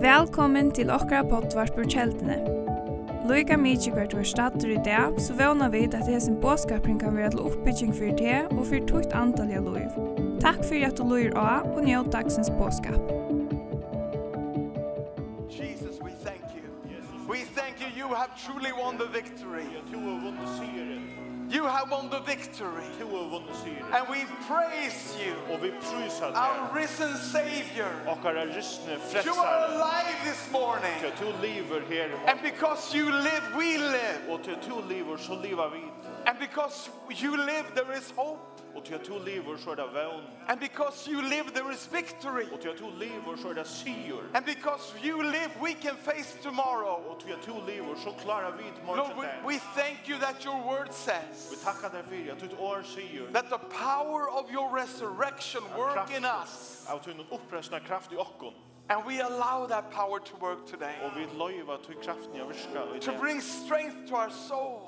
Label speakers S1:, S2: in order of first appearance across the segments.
S1: Velkommen til okkara poddvarp ur kjeldene. Loika mykje hvert du er stater i dag, så vana vi at hesen båskapring kan være til oppbygging for det og for tukt antalliga loiv. Takk fyrir at du loir av og njød dagsens båskap.
S2: Jesus, we thank you. We thank you. You have truly won the victory.
S3: Du har vunnit segern.
S2: You have won the victory.
S3: Du har vunnit segern.
S2: And we praise you,
S3: Och vi prisar
S2: our
S3: dig.
S2: risen Savior.
S3: Och våra rystne
S2: You are
S3: frälsare.
S2: alive this morning.
S3: Till du lever här.
S2: And because you live, we live.
S3: Och till du lever så lever vi.
S2: And because you live, there is hope.
S3: Och till du lever så är det vän.
S2: And because you live, there is victory.
S3: Och till du lever så är det seger.
S2: And because you live, we can face tomorrow.
S3: Och till du lever så klarar vi ett
S2: Lord,
S3: morgon
S2: we, we thank you that your word says
S3: Vi tackar dig för att ditt år säger
S2: that the power of your resurrection work in us.
S3: av din upprestna kraft i okkon.
S2: And we allow that power to work today.
S3: Och vi löjva till kraften jag viskar i
S2: To
S3: det.
S2: bring strength to our soul.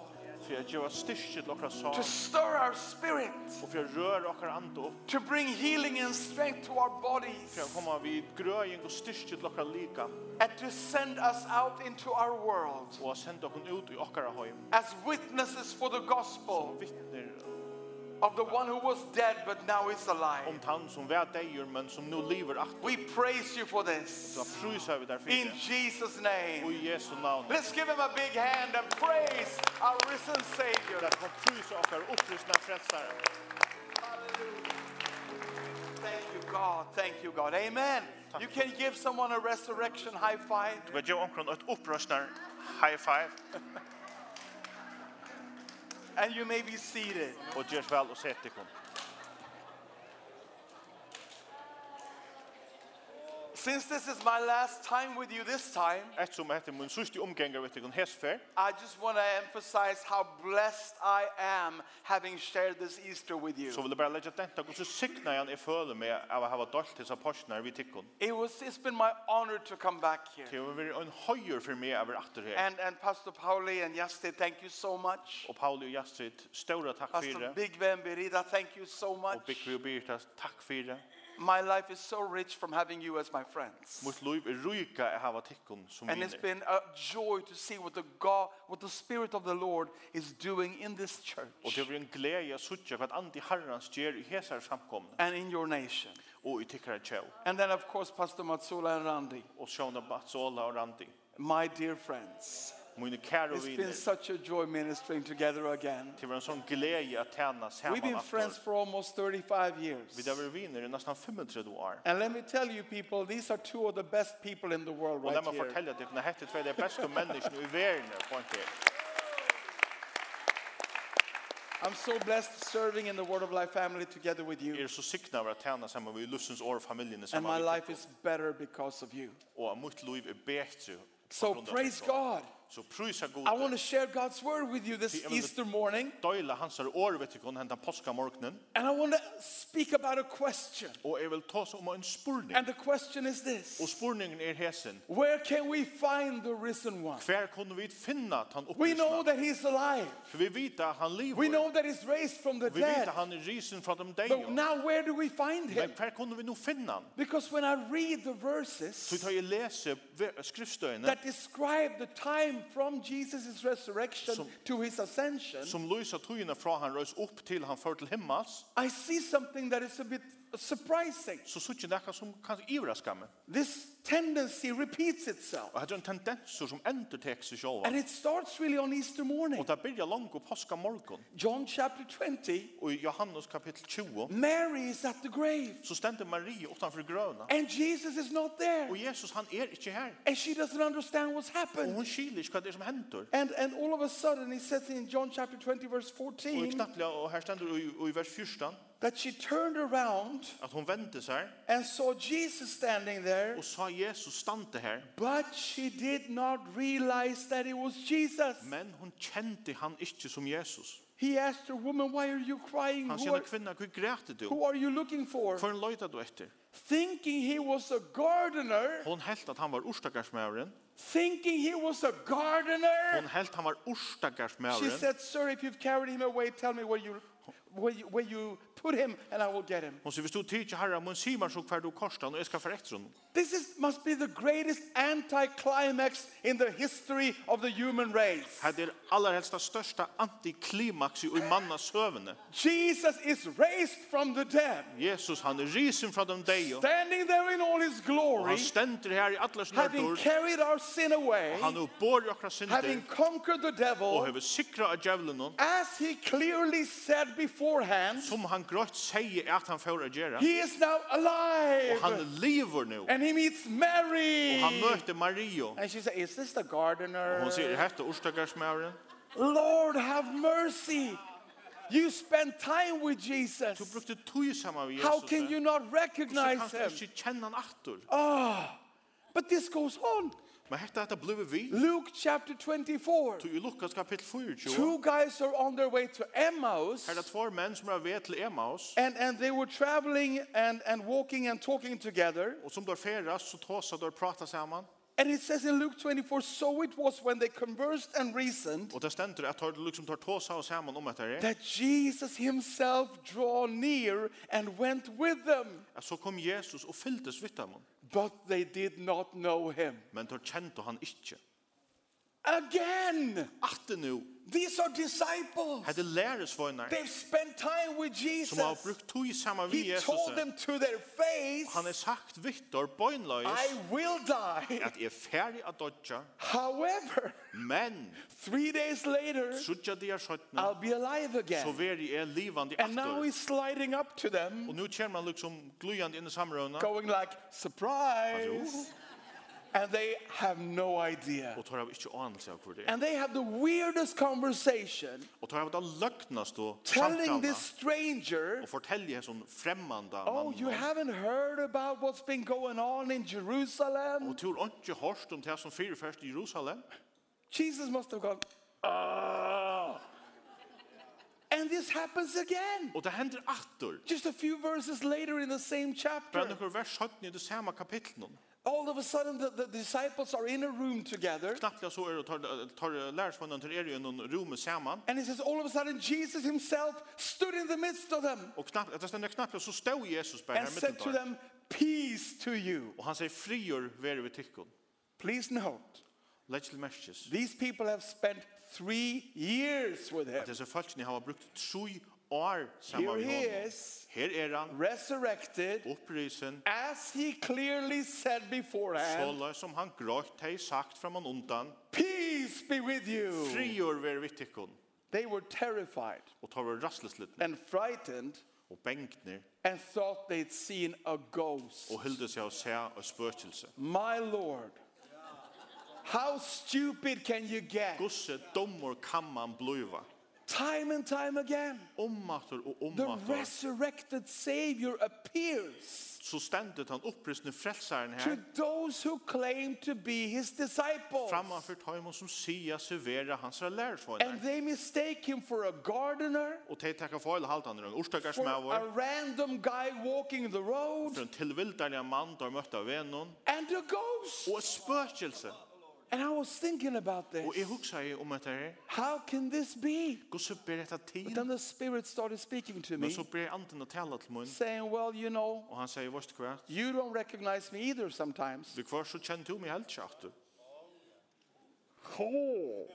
S3: För att göra styrke till okkar sal.
S2: To stir our spirit.
S3: Och för att röra okkar ande upp.
S2: To bring healing and strength to our
S3: För att
S2: bodies.
S3: komma vid gröjning och styrke till okkar lika.
S2: And to send us out into our world.
S3: og har sendt okkur ut i okkara heim
S2: As witnesses for the gospel
S3: vittner
S2: of the one who was dead but now is alive.
S3: om tann som var deir men som nu lever aftur
S2: We praise you for
S3: så
S2: this.
S3: frysa vi der fyrir
S2: In
S3: det
S2: Jesus'
S3: og
S2: name.
S3: i Jesu navn
S2: Let's give him a big hand and praise our risen Savior.
S3: der kom frysa okkar upprystna frelsare
S2: Hallelujah. Thank you, God. Thank you, God. Amen. You can give someone a resurrection high five.
S3: vi gjør omkron et upprystnar high five
S2: And you may be seated.
S3: og gjør vel og sett ikon
S2: Since this is my last time with you this time,
S3: Et som heter min sørste omgengar vet ikon hesfer
S2: I just want to emphasize how blessed I am having shared this Easter with you.
S3: så vil jeg bare leggja denta gos sikna igjen jeg føler meg er av å hava dolt hessa postnar vi tikkon
S2: It was, it's been my honor to come back here.
S3: til å være en høyer for meg over atter her
S2: And, and Pastor Pauli and Yaste, thank you so much.
S3: og Pauli og Jastrid stora takk
S2: Pastor
S3: fyrir det
S2: Bigven Berida, thank you so
S3: og
S2: much.
S3: Bikvi og Birta takk fyrir det
S2: My life is so rich from having you as my friends.
S3: Mot liv er rujka er hava tikkun som
S2: And it's
S3: vinner.
S2: been a joy to see what the God, what the Spirit of the Lord is doing in this
S3: Og det
S2: church
S3: blir en glede å suttje hva andi herrans gjør i hesar samkomne
S2: and in your nation.
S3: og i tikkara tjau.
S2: And then, of course, Pastor Matsula and Randy,
S3: Og sjåna Batsola og Randi.
S2: my dear friends.
S3: Mine kære
S2: It's been
S3: viner.
S2: such a joy ministering together again.
S3: Det var en sånn glede å tjene
S2: We've
S3: saman
S2: been friends
S3: aftur.
S2: for almost 35 years.
S3: Vi har vært viner i nesten 35 år.
S2: And let me tell you, people, these are two of the best people in the world
S3: Og
S2: right
S3: la meg
S2: here.
S3: fortelle at jeg kunne hette tvei de beste menneskene i verden på en tid.
S2: I'm so blessed serving in the Word of Life family together with
S3: Jeg
S2: you.
S3: er så sikna over å tjene sammen med Lufsens år og familiene
S2: And my
S3: sammen med
S2: life
S3: tikkun.
S2: is better because of you.
S3: Og mitt liv er bedre. på
S2: So
S3: grunn av
S2: praise
S3: tikkun.
S2: God.
S3: Så prøysa
S2: I want
S3: god.
S2: to share God's word with you this
S3: See, I mean, the-
S2: Easter morning.
S3: Døyla hans er år, vet du, hentan påska morgnen.
S2: And I want to speak about a question.
S3: Og jeg vil ta oss om en spurning.
S2: And the question is
S3: Og
S2: this
S3: spurningen er hesen.
S2: Where can we find the risen one?
S3: Hver kunne vi finna at han
S2: We know
S3: opprystna?
S2: that he's alive,
S3: For vi vet at han lever.
S2: we know that he's raised from the
S3: vi vet
S2: dead.
S3: at han er risen fra dem deg.
S2: But now, where do we find him?
S3: Men hver kunne vi nå finna han?
S2: Because when I read the
S3: Så vi
S2: verses
S3: tar jeg lese ve- skriftstøyene
S2: that describe the time from Jesus' resurrection
S3: Som-
S2: to his ascension,
S3: som lyser tøyene fra han røys opp til han før til himmels,
S2: I see something that is a bit surprising.
S3: så sutt ikke nekka som kan ivraska meg.
S2: This tendency repeats itself.
S3: Og hette en tendenser som endertek seg sjåva.
S2: And it starts really on Easter morning.
S3: Og det byrja langt på påska morgon.
S2: John chapter 20,
S3: Og i Johannes kapittel 20,
S2: Mary is at the grave
S3: så stender Marie utanfor grøna.
S2: and Jesus is not there.
S3: Og Jesus, han er ikke her.
S2: And she doesn't understand what's
S3: Og
S2: happened.
S3: hun skiler ikke hva det er som hender.
S2: And, and all of a sudden, he says in John chapter 20, verse
S3: Og i
S2: 14,
S3: knappliga, og her stendur i, og i vers 14,
S2: that she turned around
S3: at hon vente seg
S2: and saw Jesus standing there,
S3: og sa Jesus stande her,
S2: but she did not realize that it was Jesus.
S3: men hon kjente han ikke som Jesus.
S2: He asked her, Woman, why are you crying?
S3: Han
S2: Who
S3: sier
S2: are,
S3: kvinna, hva græte du?
S2: who are you looking for?
S3: Hva løyta du etter?
S2: Thinking he was a gardener,
S3: Hon helt at han var orstakarsmævren.
S2: thinking he was a gardener.
S3: Hon helt han var
S2: She
S3: orstakarsmævren.
S2: said, Sir, if you've carried him away, tell me where you, where you, where you put him and I will get him.
S3: Hon sier, hvis du tidsi herra, mun sier man så hver du korstan, og jeg skal for etter hon.
S2: This is, must be the greatest anticlimax in the history of the human race.
S3: Her er aller helst det største antiklimaxi i manna søvne.
S2: Jesus is raised from the dead,
S3: Jesus, han er risen fra dem deg, og
S2: standing there in all his glory,
S3: han stender her i allar sin
S2: having
S3: hørtur,
S2: carried our sin away,
S3: og han er bor i okra synder,
S2: having conquered the
S3: og
S2: devil,
S3: hever sikra av djevelen,
S2: as he clearly said beforehand,
S3: som han grått sier at han får å gjøre.
S2: he is now
S3: Og Oh, han
S2: alive.
S3: lever nå,
S2: And he meets Mary.
S3: og han Oh, møter Mario.
S2: And she said, Is this the
S3: Og
S2: gardener?
S3: hon sier, hette orstakarsmæren,
S2: Lord, have mercy. You spent time with Jesus.
S3: du brukte tog saman med Jesus.
S2: How can you Ah. not recognize
S3: Så
S2: him?
S3: kanst du ikke kjenne han aftur.
S2: But this goes on.
S3: Men hette dette ble vi.
S2: Luke chapter 24.
S3: Du i Lukas kapitel 24.
S2: Two guys are on their way to Emmaus,
S3: Her er det två menn som er ved til Emmaus.
S2: and, and they were traveling and, and walking and talking together.
S3: Og som der feras, så tåsa der prata saman.
S2: And it says in Luke 24 So it was when they conversed and reasoned
S3: Og det stender at de liksom tar tåsa og saman om etter det.
S2: that Jesus himself draw near and went with them.
S3: At så kom Jesus og fylltes vitt av
S2: But they did not know him.
S3: Men de kjente han ikke.
S2: Again,
S3: Atte nu,
S2: these are disciples.
S3: hette læresvøyner
S2: They've spent time with
S3: som har
S2: Jesus.
S3: brukt tog saman vi
S2: He
S3: Jesus.
S2: told them to their face,
S3: Han er sagt vittor bøgnløys
S2: I will die.
S3: at jeg er ferdig at dodja,
S2: However,
S3: men
S2: three days later,
S3: suttja de er søttene,
S2: I'll be alive
S3: så
S2: again.
S3: veri er livande i
S2: And now
S3: aftur.
S2: he's sliding up to them,
S3: Og nu kommer han liksom glujande inn i samrøvna,
S2: going like,
S3: Alltså,
S2: surprise. And they have no idea.
S3: og tar av ikke anelse av hvor det er.
S2: And they have the weirdest conversation,
S3: Og tar av det løgnast og
S2: telling
S3: samtalna,
S2: this stranger,
S3: og fortelje sånn fremmanda
S2: Oh, you
S3: mann.
S2: haven't heard about what's been going on in Jerusalem?
S3: Og tur ikke hørst om det som fyrir først i Jerusalem.
S2: Jesus must have gone, oh. And this happens again.
S3: Og det hender aftur.
S2: Just a few verses later in the same chapter,
S3: Bare noen vers 17 i det samme kapitlet.
S2: all of a sudden the, the disciples are in a room together.
S3: Knapplega så er det tar, tar lærersvannen til er i noen rom saman.
S2: And it says, all of a sudden, Jesus himself stood in the midst of them
S3: Og knappt, etter stendet knappt, så stod Jesus bare
S2: and
S3: her
S2: said to
S3: mittentår.
S2: them, Peace to you.
S3: Og han sier, frigjør være ved tikkun.
S2: Please note,
S3: Legg til merkes.
S2: these people have spent three years with him.
S3: At disse folkene har brukt tre år
S2: Here
S3: saman med
S2: he
S3: honom.
S2: is,
S3: Her er han,
S2: resurrected,
S3: opprisen,
S2: as he clearly said beforehand,
S3: såløy som han grått hei sagt fram og undan.
S2: Peace be with you.
S3: Frigjør være ved tikkun.
S2: They were terrified
S3: Og tar var rastleslittne,
S2: and frightened
S3: og benkner,
S2: and thought they'd seen a ghost.
S3: og hilde seg av se og spøkelse.
S2: My Lord, how stupid can you get?
S3: Gosse dommer kan man bluva.
S2: Time and time again.
S3: Ommater og
S2: The
S3: ommater.
S2: resurrected Savior appears
S3: Så stendet han opprisne frelsaren her.
S2: to those who claim to be his disciples.
S3: framför Timon som sia servera hans
S2: And
S3: lärsvagnar.
S2: they mistake him for a gardener,
S3: Och te tacka för hela haltan den
S2: for a
S3: orstakarsmävor.
S2: random guy walking the road,
S3: För en tillvildarlig man där mötte av vännen.
S2: and a ghost.
S3: Och ett spökelse.
S2: And I was thinking about this.
S3: Och jag huxar ju om att det här.
S2: How can this be?
S3: Gå så ber detta
S2: But
S3: tid.
S2: then the Spirit started speaking to
S3: Men
S2: me,
S3: så ber anden att tala till mun.
S2: saying, Well, you know,
S3: Och han säger, vart kvar?
S2: you don't recognize me either sometimes.
S3: Vi kvar så känner du mig helt tjatt.
S2: Oh.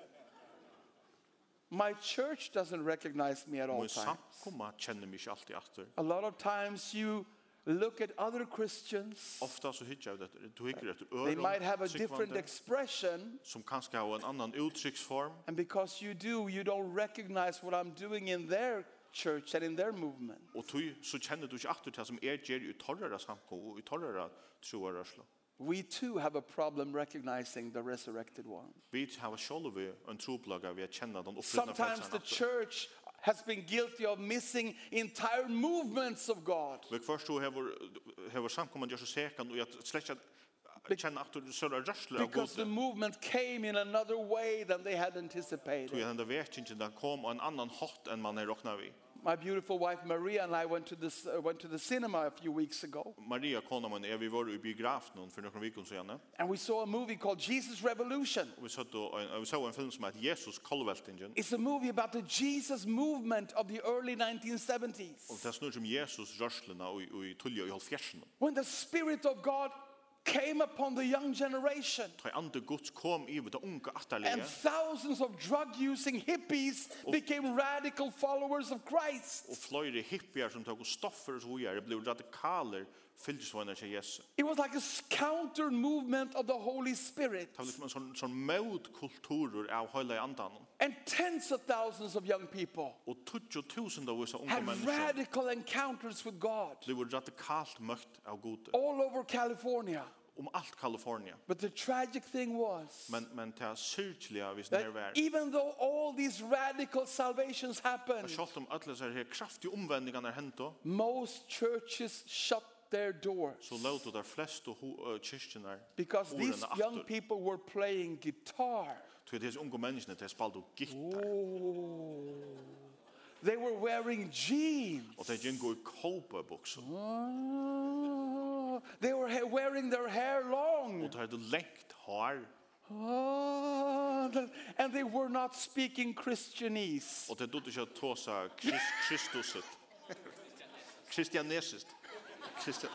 S2: My church doesn't recognize me at all
S3: Men
S2: times.
S3: samkomma känner mig inte alltid efter.
S2: A lot of times you look at other Christians.
S3: Ofta så hittar jag det. Du hickar efter
S2: They might have a
S3: öron.
S2: different
S3: sikvande,
S2: expression.
S3: Som kanske har en annan uttrycksform.
S2: And because you do, you don't recognize what I'm doing in their church and in their movement.
S3: Og tui, så kjenner du ikke akkurat det som er gjer i torrere samkom og i torrere troarørsla.
S2: We too have a problem recognizing the resurrected one.
S3: Vi har sjolv en troplaga vi har kjennet den opprydna
S2: Sometimes the
S3: frelseren.
S2: church has been guilty of missing entire movements of God.
S3: Vi først så hever, hever samkommet gjør så sekan og jeg slett ikke kjenner akkurat søra rørsla av
S2: Because the
S3: gode.
S2: movement came in another way than they had
S3: Tui
S2: anticipated.
S3: henda verkingen den kom av en annan hot enn man er råkna vi.
S2: my beautiful wife Maria and I went to, this, uh, went to the cinema a few weeks ago,
S3: Maria, kona min, er vi var i biografen for noen vikon siden,
S2: and we saw a movie called Jesus Revolution.
S3: eh? og vi, satt og, og vi så en film som heter Jesus Kolveltingen,
S2: It's a movie about the Jesus movement of the early 1970s.
S3: og det snur som um Jesus rørslene og, og i tullet i halvfjersen.
S2: When the Spirit of God came upon the young generation,
S3: Ta i andre gods kom i det unge
S2: and
S3: atterlige,
S2: thousands of drug using hippies became radical followers of Christ.
S3: og fløyre hippier som tog stoffer og er så videre, ble radikaler fylkesvåner til Jesus.
S2: It was like a counter movement of the Holy Spirit.
S3: Det var liksom en sånn, sånn møtkulturer av høyla i andan.
S2: And tens of thousands of young people
S3: Og 20.000 av disse unge
S2: had
S3: mennesker
S2: radical encounters with God
S3: ble radikalt møtt av gode.
S2: all over California.
S3: Om alt Kalifornien.
S2: But the tragic thing was
S3: Men, men det er syrtlige hvis det
S2: that
S3: er vær.
S2: even though all these radical salvations happened,
S3: Og selv om alle disse her kraftige omvendingene er hentet,
S2: most churches shut their doors
S3: så låter det flest og uh, kyrkjene
S2: because these young
S3: atter.
S2: people were playing guitar.
S3: Så disse unge menneskene, de spalte og gitter.
S2: Oh. They were wearing jeans.
S3: Og de gikk i kåpebukser.
S2: Oh. They were ha- wearing their hair long.
S3: Og de hadde lengt hår.
S2: Oh. the- And they were not speaking Christianese.
S3: Og de dødde ikke å ta seg krist, Kristuset. Kristianesist. Kristian.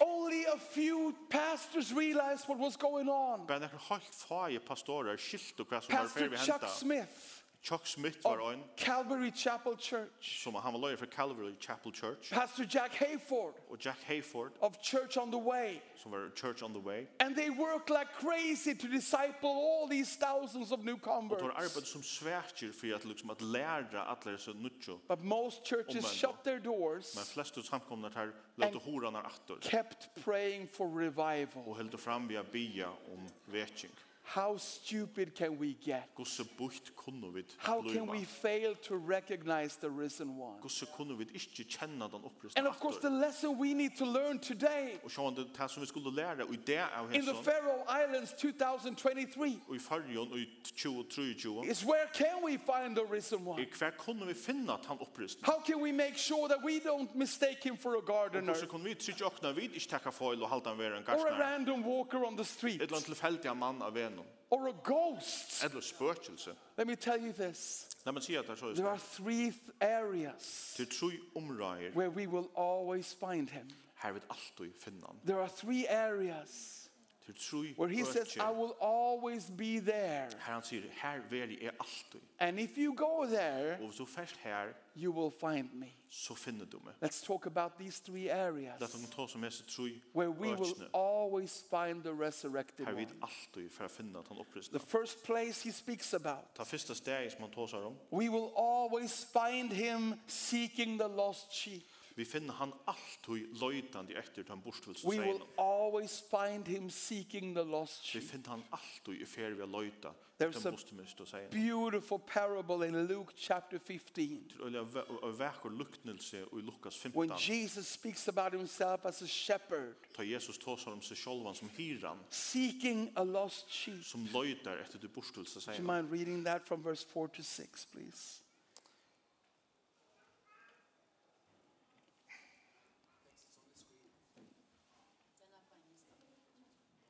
S2: Only a few pastors realized what was going on.
S3: Bara nekkur er helt fagi pastorer skilt og hva som var
S2: Pastor
S3: ferdig
S2: Chuck
S3: henta.
S2: Smith
S3: Chuck Smith var
S2: of
S3: ein
S2: Calvary Chapel Church.
S3: som han var løyer for Calvary Chapel Church
S2: Pastor Jack Hayford
S3: og Jack Hayford
S2: of Church on the Way.
S3: som var Church on the Way.
S2: And they worked like crazy to disciple all these thousands of new
S3: Og det var
S2: converts.
S3: arbeid som svækjer for at, liksom, at læra alle disse nutjo.
S2: But most churches
S3: Omvänd.
S2: shut their doors,
S3: Men flest ut samkomna her løte horan er atter
S2: kept praying for revival.
S3: og heldur fram via bia om um veking.
S2: How stupid can we get?
S3: Gosse bukt kunne vi
S2: How can we fail to recognize the risen one?
S3: Gosse kunne vi ikke kjenne den opprøst
S2: And of course, the
S3: atter.
S2: lesson we need to learn today
S3: Og sjåan det, det som vi skulle læra i det av
S2: in the
S3: hesson
S2: Faroe Islands 2023
S3: og i fargen og i 2023
S2: is where can we find the risen one?
S3: I hver kunne vi finna at han opprystna?
S2: How can we make sure that we don't mistake him for a
S3: Og
S2: gardener
S3: hvordan kunne vi trykje åkna vid, ikke takka foil og halda han vera en
S2: or a
S3: garstnare?
S2: random walker on the street
S3: Et eller annet tilfeldig av mann av venom.
S2: or a ghost?
S3: Et eller spøkelse.
S2: Let me tell you this
S3: Nei, men sier at det er så i
S2: there are
S3: stedet.
S2: three th- areas
S3: Til tru omræger,
S2: where we will always find him.
S3: her vil alltid finna han.
S2: There are three areas
S3: Til tru
S2: where he says, I
S3: økje,
S2: will always be there.
S3: her han sier, her veri er alltid.
S2: And if you go there,
S3: Og hvis du fest her,
S2: you will find me.
S3: så finner du meg.
S2: Let's talk about these three areas
S3: Det er noen ta som hese tru
S2: where we will
S3: økjene.
S2: always find the resurrected
S3: Her
S2: one.
S3: vil alltid for å finna at han
S2: The
S3: opprystna.
S2: first place he speaks about
S3: Ta fyrsta steg som han tåsar om.
S2: We will always find him seeking the lost sheep.
S3: Vi finner han alltid løytandi etter den borstvilsen
S2: We will
S3: seinum.
S2: always find him seeking the lost
S3: Vi
S2: sheep.
S3: finner han alltid i fer vi har løyta.
S2: There's
S3: There's
S2: a-
S3: a... Måste mest å säga.
S2: Beautiful parable in Luke chapter 15
S3: Til øyla og vekker luktnelse i Lukas 15.
S2: when Jesus speaks about himself as a shepherd
S3: Ta Jesus tåsar om seg sjolvan som hyran,
S2: seeking a lost sheep.
S3: som løytar etter du borstelse
S2: Do
S3: seg.
S2: you mind reading that from verse 4 to 6, please?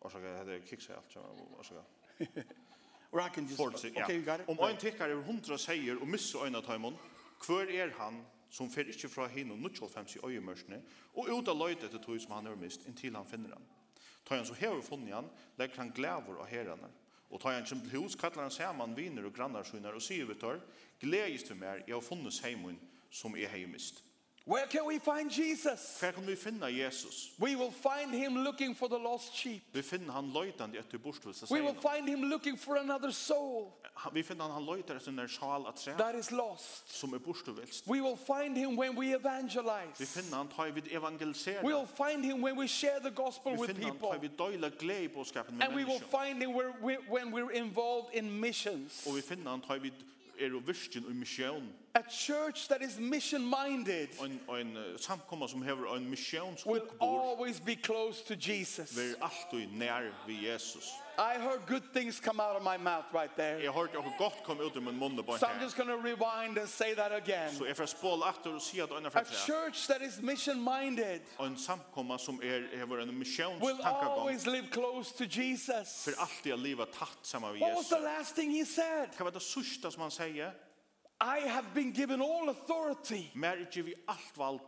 S3: Orsaka, det er kiksa alt. så- Orsaka.
S2: Or I can just.
S3: Forse, ja.
S2: Okay, you got it?
S3: Om ein tekkar er hundra seier og missa øyna taimon, hver er han som fer ikkje fra hin og 95 i øyemørsne, og ut av løyt etter tog som han har mist, inntil han finner han. Ta han så hever funnet han, legger han glævor av herrene. Og ta han kjem til hus, kallar han saman viner og grannarsynar og sier vi tar, gledjist vi mer, jeg har funnet heimun som jeg hei mist.
S2: Where can we find Jesus?
S3: Hver kan vi finna Jesus?
S2: We will find him looking for the lost sheep.
S3: Vi finner han løytande etter borstvelsa
S2: We will
S3: seier.
S2: find him looking for another soul
S3: Vi finner han han løytar etter nær sjal at tre,
S2: that is lost.
S3: som er borstvelst.
S2: We will find him when we
S3: Vi
S2: evangelize.
S3: finner han tar vid evangelisera.
S2: We will find him when we share the gospel
S3: vi
S2: with
S3: finner han tar
S2: people.
S3: vid døyla glede i bådskapen med
S2: And we will
S3: människor.
S2: find him where we, when we're involved in missions.
S3: Og vi finner han tar vid er og virken og misjon.
S2: a church that is mission minded
S3: en en eh, samkomma som hever en
S2: will
S3: missionsuppbor
S2: always be close to Jesus.
S3: ver alltid nær vi Jesus.
S2: I heard good things come out of my mouth right there.
S3: Jeg har hørt noe godt komme ut av min munn på
S2: So I'm
S3: her.
S2: just going to rewind and say that again.
S3: Så jeg får spål atter og si at øyne
S2: A
S3: fyrir seg.
S2: church that is mission minded
S3: En samkomma som er, hever en
S2: will
S3: missionstankagang
S2: always live close to Jesus.
S3: for alltid å leva tatt sammen med
S2: What was
S3: Jesus.
S2: the last thing he said?
S3: Hva var det sørste som han sier?
S2: I have been given all authority
S3: Mer ikke vi alt vald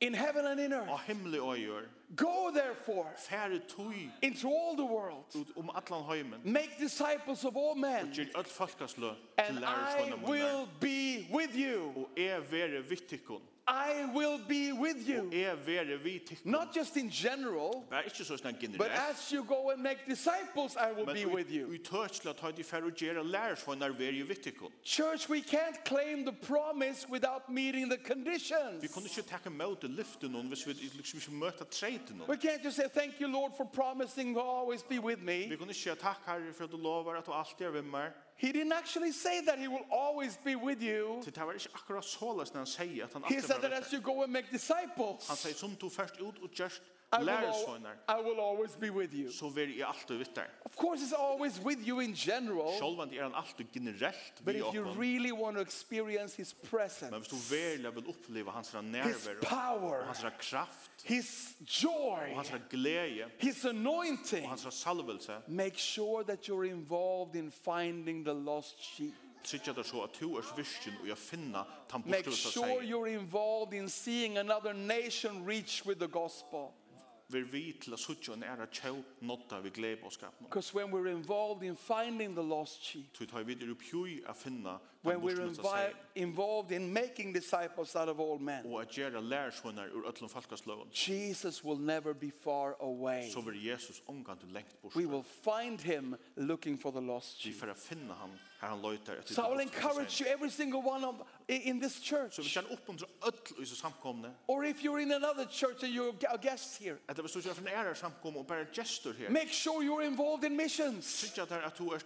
S2: in heaven and in earth.
S3: av himmelig øyer.
S2: Go therefore
S3: Færre tøy
S2: into all the world,
S3: ut om atlan heimen.
S2: make disciples of all men,
S3: Gjør öll folkaslø til
S2: and
S3: lærerstående
S2: I
S3: munner.
S2: will be with you.
S3: Og er vere vittikon.
S2: I will be with you.
S3: Er vere vittikon.
S2: Not just in general,
S3: Det er ikke så sånn
S2: but
S3: generelt.
S2: as you go and make disciples, I will be with
S3: Men
S2: you.
S3: i tøtsla tar de færre og gjøre lærersvånar vere i vittikon.
S2: Church, we can't claim the promise without meeting the
S3: Vi
S2: conditions.
S3: kunne ikke takke med til lyfte noen hvis vi liksom ikke møter treiten
S2: We
S3: noen.
S2: can't just say, Thank you, Lord, for promising to always be with me.
S3: Vi kunne ikke takke herre for at du lover at du alltid er ved meg.
S2: He didn't actually say that He will always be with you.
S3: Så det var ikke akkurat såles når han sier at han
S2: He
S3: alltid
S2: said
S3: var
S2: that
S3: ved
S2: as
S3: deg.
S2: you go and make
S3: Han
S2: disciples,
S3: sier som du først ut og gjørst
S2: I will, al-
S3: lærersvånar,
S2: I will always be with you.
S3: så vere jeg alltid vitt der.
S2: Of course, it's always with you in general,
S3: Sjolvand er han alltid generelt
S2: but
S3: vi
S2: if you
S3: åkken.
S2: really want to experience His
S3: Men hvis
S2: presence,
S3: du verlig vil oppleve hans ra
S2: His
S3: nærvær og
S2: power,
S3: hans ra kraft
S2: His joy,
S3: og hans ra glede
S2: His anointing,
S3: og hans ra salvelse,
S2: make sure that you're involved in finding the lost sheep.
S3: sikker det så at du er virkjen og jeg finner tan
S2: Make
S3: bortståelse
S2: sure
S3: seg.
S2: you're involved in seeing another nation reach with the gospel.
S3: Ver vi til å sikker en æra tjau nåtta vi glede og skapna.
S2: Because when we're involved in finding the lost sheep,
S3: Så tar vi videre pjøy å finne
S2: when
S3: den
S2: we're
S3: bortståelse
S2: invi-
S3: seg
S2: involved in making disciples out of all men,
S3: og at gjøre lærersvånar ur ötlun falkasløven,
S2: Jesus will never be far away.
S3: så vil Jesus omgang til lengt bort.
S2: We will find him looking for the lost
S3: Vi
S2: sheep.
S3: får finne han her han løyter etter
S2: So I will
S3: den bortståelse
S2: encourage
S3: seg.
S2: you, every single one of, i- in this
S3: Så vi
S2: church,
S3: kan oppmuntra öll i så samkomne
S2: or if you're in another church and you're a guest here,
S3: Att det var så för en ära samkom och bara gestor här.
S2: make sure you're involved in missions.
S3: Sitt jag där att du är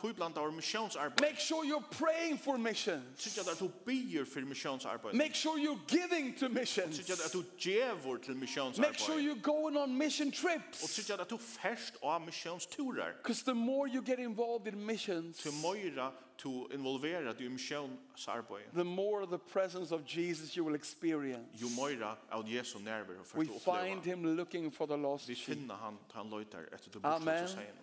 S3: på ibland av missionsarbete.
S2: Make sure you're praying for missions.
S3: Sitt jag där att du ber för missionsarbete.
S2: Make sure you're giving to missions.
S3: Sitt jag där att du ger till
S2: Make sure
S3: missionsarbete.
S2: you're going on mission
S3: Och
S2: trips.
S3: sitt jag där att du färst av missionsturer.
S2: Because the more you get involved in missions,
S3: Till Moira to involvera dig i missionsarbete.
S2: the more the presence of Jesus you will experience.
S3: Jo Moira av Jesu närvaro för
S2: We
S3: att
S2: find
S3: uppleva.
S2: him looking for the lost
S3: Vi
S2: sheep.
S3: finner han till han löjtar efter det
S2: Amen.
S3: bortslösa sägen.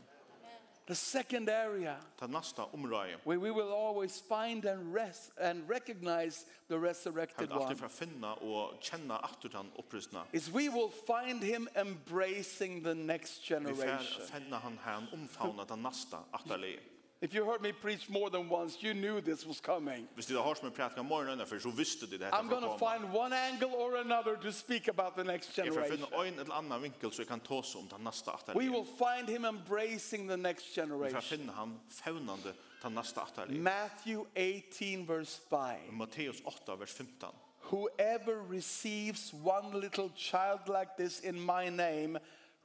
S2: The second area
S3: Ta nästa område.
S2: where we will always find and rest and recognize the
S3: Han
S2: resurrected
S3: vill alltid
S2: one
S3: för att finna och känna att du kan upprustna.
S2: is we will find him embracing the next
S3: Vi
S2: generation.
S3: får finna han här han omfavna den nästa atterlige.
S2: If you heard me preach more than once, you knew this was coming.
S3: Hvis du har som en prætka morgenen for så visste du det här
S2: I'm going to find one angle or another to speak about the next
S3: Jeg får
S2: generation.
S3: finne en eller annan vinkel så jeg kan ta om den nästa
S2: We
S3: atterlige.
S2: will find him embracing the next
S3: Vi får
S2: generation.
S3: finne han faunande den nästa atterlige.
S2: Matthew 18, verse 5.
S3: Matteus 8, vers 15.
S2: Whoever receives one little child like this in my name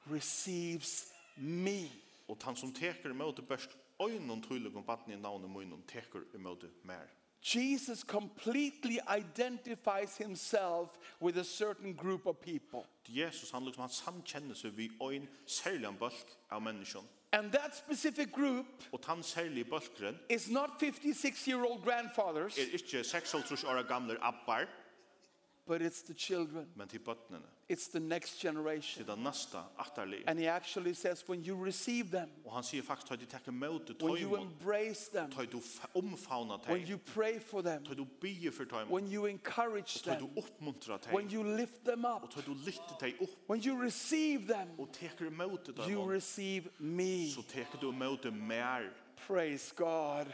S2: receives me.
S3: Og han som teker imot det børst, øynene tydelig om baden i navnet munnen teker imot det mer.
S2: Jesus completely identifies himself with a certain group of people.
S3: Jesus, han liksom, han samkjenner seg vid øyn, særlig en bølg av menneskene.
S2: And that specific group
S3: Og den særlige bølgren
S2: is not 56 year old grandfathers,
S3: er ikke 36 år gamle abbar,
S2: but it's the children,
S3: men til bøttene.
S2: it's the next generation.
S3: Til den nästa atterlige.
S2: And he actually says, when you receive them,
S3: Og han sier faktisk at de teker møte
S2: when you
S3: tøymon,
S2: embrace them,
S3: tøy du f- omfavna
S2: when
S3: teg,
S2: you pray for them,
S3: tøy du bie for tøymon,
S2: when you encourage
S3: tøy du
S2: them,
S3: oppmuntra
S2: when
S3: teg,
S2: you lift them
S3: og
S2: up,
S3: tøy du lytte teg opp,
S2: when you receive them,
S3: og teker møte
S2: you
S3: tøymon,
S2: receive me.
S3: så teker du møte mer,
S2: Praise God.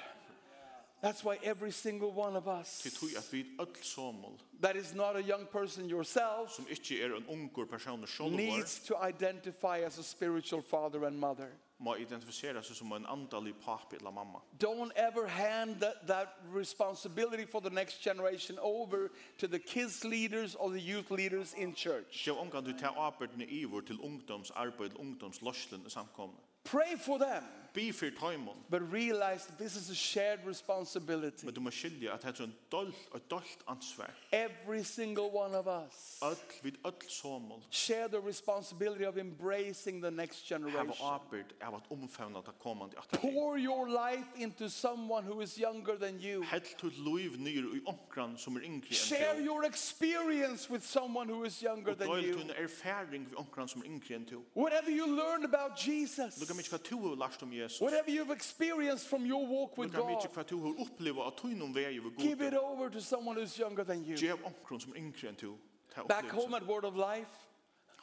S2: That's why every single one of
S3: til
S2: us
S3: tøy at vi öll somol,
S2: that is not a young person yourself
S3: som ikkje er en ungur person sjolvar,
S2: needs to identify as a spiritual father and mother.
S3: må identifisera seg som en andalig papi eller mamma.
S2: Don't ever hand that, that responsibility for the next generation over to the kids leaders or the youth leaders in church.
S3: Sjå omgang du tar arbeidene ivor til ungdoms arbeid, ungdoms i samkomne.
S2: Pray for them,
S3: Be for taimon.
S2: but realize that this is a shared responsibility.
S3: Men du må skilja at det er en dolt, et dolt ansvar.
S2: Every single one of us
S3: Öll, vid öll somol,
S2: share the responsibility of embracing the next generation.
S3: hava arbeid av at omfavna det kommande atterheng.
S2: Pour your life into someone who is younger than you.
S3: Helt til loiv nyr i omkran som er yngre
S2: Share
S3: enn to.
S2: your experience with someone who is younger
S3: Og
S2: than
S3: døyl
S2: you.
S3: tunne erfaring vi omkran som er yngre enn to.
S2: Whatever you learned about Jesus,
S3: Lukka mykje hva tu har lært om Jesus.
S2: whatever you've experienced from your walk with
S3: Lukka
S2: God,
S3: mykje hva tu har oppleva at tuinum vei vi
S2: give it
S3: god.
S2: over to someone who's younger than you.
S3: Gjev omkran som er yngre enn to. Ta
S2: Back
S3: opplevelse.
S2: home at Word of Life,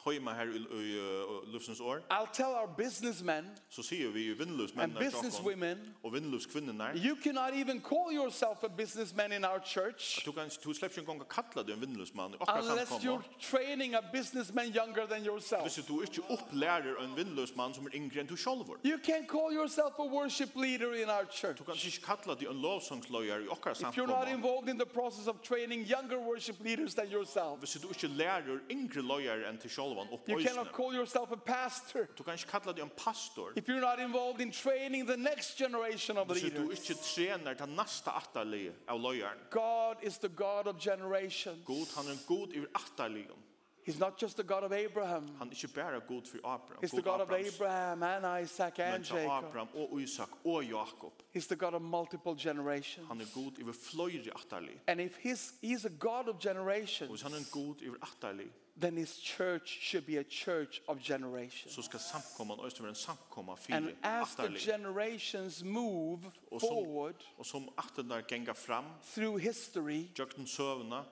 S3: Heima her i, i uh, lufsens år,
S2: I'll tell our businessmen
S3: så sier vi
S2: and
S3: vinnløsmennene
S2: businesswomen,
S3: og vinnløskvinnerne
S2: you cannot even call yourself a businessman in our church
S3: Du kan du släpps en gång att kalla dig en vinnlösman i okkar
S2: unless you're
S3: samkomma.
S2: training a businessman younger than
S3: Hvis
S2: yourself.
S3: du ikke opplærer en vinnløsmann som er yngre enn du sjálfur.
S2: You can't call yourself a worship leader in our church
S3: Du kan ikke kalla dig en lovsångsløyer i okkar
S2: if you're not
S3: samkomma.
S2: involved in the process of training younger worship leaders than yourself.
S3: Hvis du ikke lærer yngre løyer enn til sjálvan opp
S2: You cannot
S3: øysene.
S2: call yourself a pastor
S3: Du kan ikke kalla dig en pastor.
S2: if you're not involved in training the next generation of
S3: Hvis du
S2: leaders.
S3: ikke trener til nasta atterlig av løyeren.
S2: God is the God of generations.
S3: God, han er en god i atterligen.
S2: He's not just the God of Abraham.
S3: Han er ikke bare god for Abraham.
S2: He's the God of
S3: Abrahams,
S2: Abraham and Isaac
S3: Men
S2: and
S3: til
S2: Jacob.
S3: Abraham og Isak og Jakob.
S2: He's the God of multiple generations.
S3: Han er god i fløyre atterlig.
S2: And if his, he's a God of
S3: Og
S2: generations,
S3: hvis han er en god i atterlig,
S2: then his church should be a church of generations.
S3: så skal samkomman øyne være en samkomma
S2: And
S3: fyrir
S2: as the
S3: aftarlig.
S2: generations move
S3: Og som,
S2: forward
S3: og som aftarnar genga fram,
S2: through history,
S3: jökten sövna,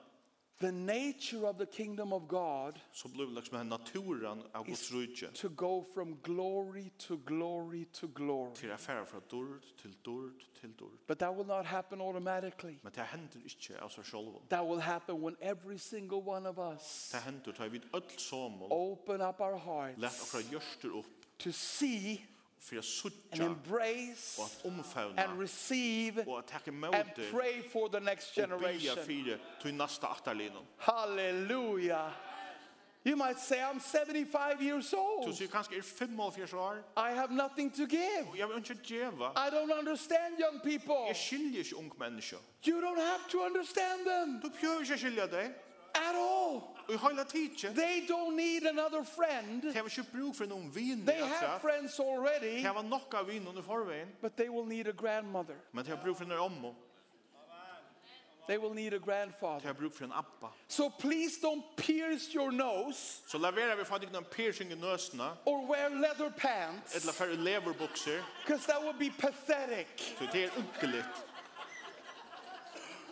S2: the nature of the kingdom of God
S3: så blir liksom den naturen av Guds rydje
S2: to go from glory to glory to glory.
S3: til å færa fra dörd til dörd til dörd.
S2: But that will not happen automatically.
S3: Men det hender ikke av seg sjolvun.
S2: That will happen when every single one of us
S3: Det hender til vi öll somol,
S2: open up our
S3: let
S2: hearts
S3: okra gjørster upp
S2: to see
S3: fyrir a
S2: and
S3: suttja og
S2: embrace
S3: at omfavna
S2: and receive
S3: og at takke
S2: and
S3: møte og
S2: pray for the next
S3: bia
S2: generation.
S3: fyrir til nasta aftarlinan.
S2: Hallelujah. You might say, I'm 75 years
S3: Du
S2: old.
S3: sier kanskje er 45 år,
S2: I have nothing to give.
S3: og jeg vil ikke djeva.
S2: I don't understand young people.
S3: Jeg skiljer ikke ung menneske.
S2: You don't have to understand them
S3: Du behøver ikke skilja deg.
S2: at all.
S3: Og i hele tiden,
S2: They don't need another friend.
S3: det var ikke bruk for noen vin.
S2: They have friends already,
S3: Det var nok av vin under forveien,
S2: but they will need a grandmother.
S3: men det var bruk for en ommo.
S2: They will need a
S3: Det
S2: grandfather.
S3: var bruk for en appa.
S2: So please don't pierce your nose
S3: Så laverer vi faktisk noen piercing i nøsene,
S2: or wear leather pants
S3: eller for leverbukser,
S2: because that would be pathetic.
S3: så det er unkelitt.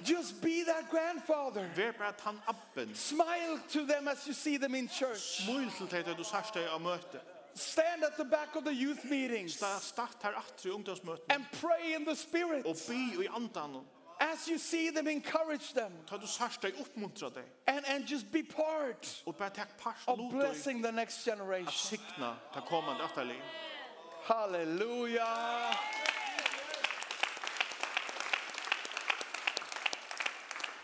S2: Just be that grandfather.
S3: Vær bare at han appen.
S2: Smile to them as you see them in church.
S3: Smul til deg til du sørst deg av møte.
S2: Stand at the back of the youth meetings
S3: Sta- Start her atre i ungdomsmøtene,
S2: and pray in the Spirit.
S3: og bi i andan.
S2: As you see them, encourage them
S3: Ta du sørst deg oppmuntra deg,
S2: and, and just be part
S3: og bare takk pars
S2: of
S3: lot deg.
S2: blessing the next
S3: At
S2: generation.
S3: signa ta kommande atterlig.
S2: Hallelujah.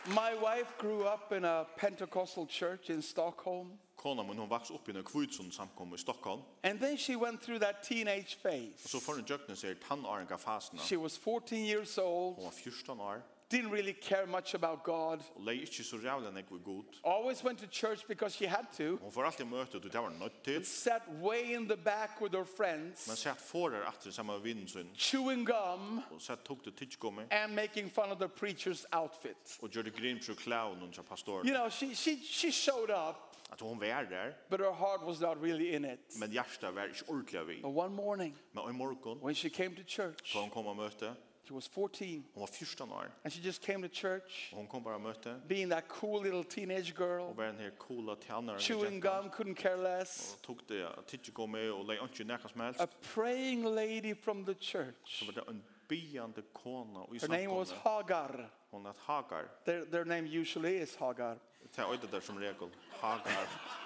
S2: My wife grew up in a Pentecostal church in Stockholm,
S3: Kona min, hon vaks upp i en kvudson samkommer i Stockholm.
S2: and then she went through that teenage phase.
S3: Så får hun jøkne seg tannaringa fasene.
S2: She was 14 years old,
S3: Hon var 14 år
S2: didn't really care much about God,
S3: og lei ikke så rævlig nekk var god.
S2: always went to church because she had to,
S3: Hon får alltid møte og det var nødt til.
S2: sat way in the back with her friends,
S3: Men sett forar atter sammen med vinden sin
S2: chewing gum
S3: og sett tok det tidsgommet
S2: and making fun of the preacher's outfit.
S3: og gjør det grim for klaun og
S2: You
S3: pastoren.
S2: know, she, she, she showed up,
S3: At hon var der,
S2: but her heart was not really in it.
S3: men hjertet var ikke ordentlig av vi.
S2: But one morning,
S3: Men i morgon,
S2: when she came to church,
S3: da hon kom og møte,
S2: she was 14,
S3: hon var 14 år,
S2: and she just came to church
S3: og hon kom bare og møte,
S2: being that cool little teenage girl,
S3: og var den her coola tjannaren
S2: chewing gum, couldn't care less,
S3: og tok det tidsgommet og lei ikke nekka som helst.
S2: a praying lady from the church.
S3: Så var det en biande kona og i
S2: Her name was
S3: samkommet.
S2: Hagar.
S3: Hon het Hagar.
S2: Their, their name usually is Hagar.
S3: Det er øyde der som regel. Hagar.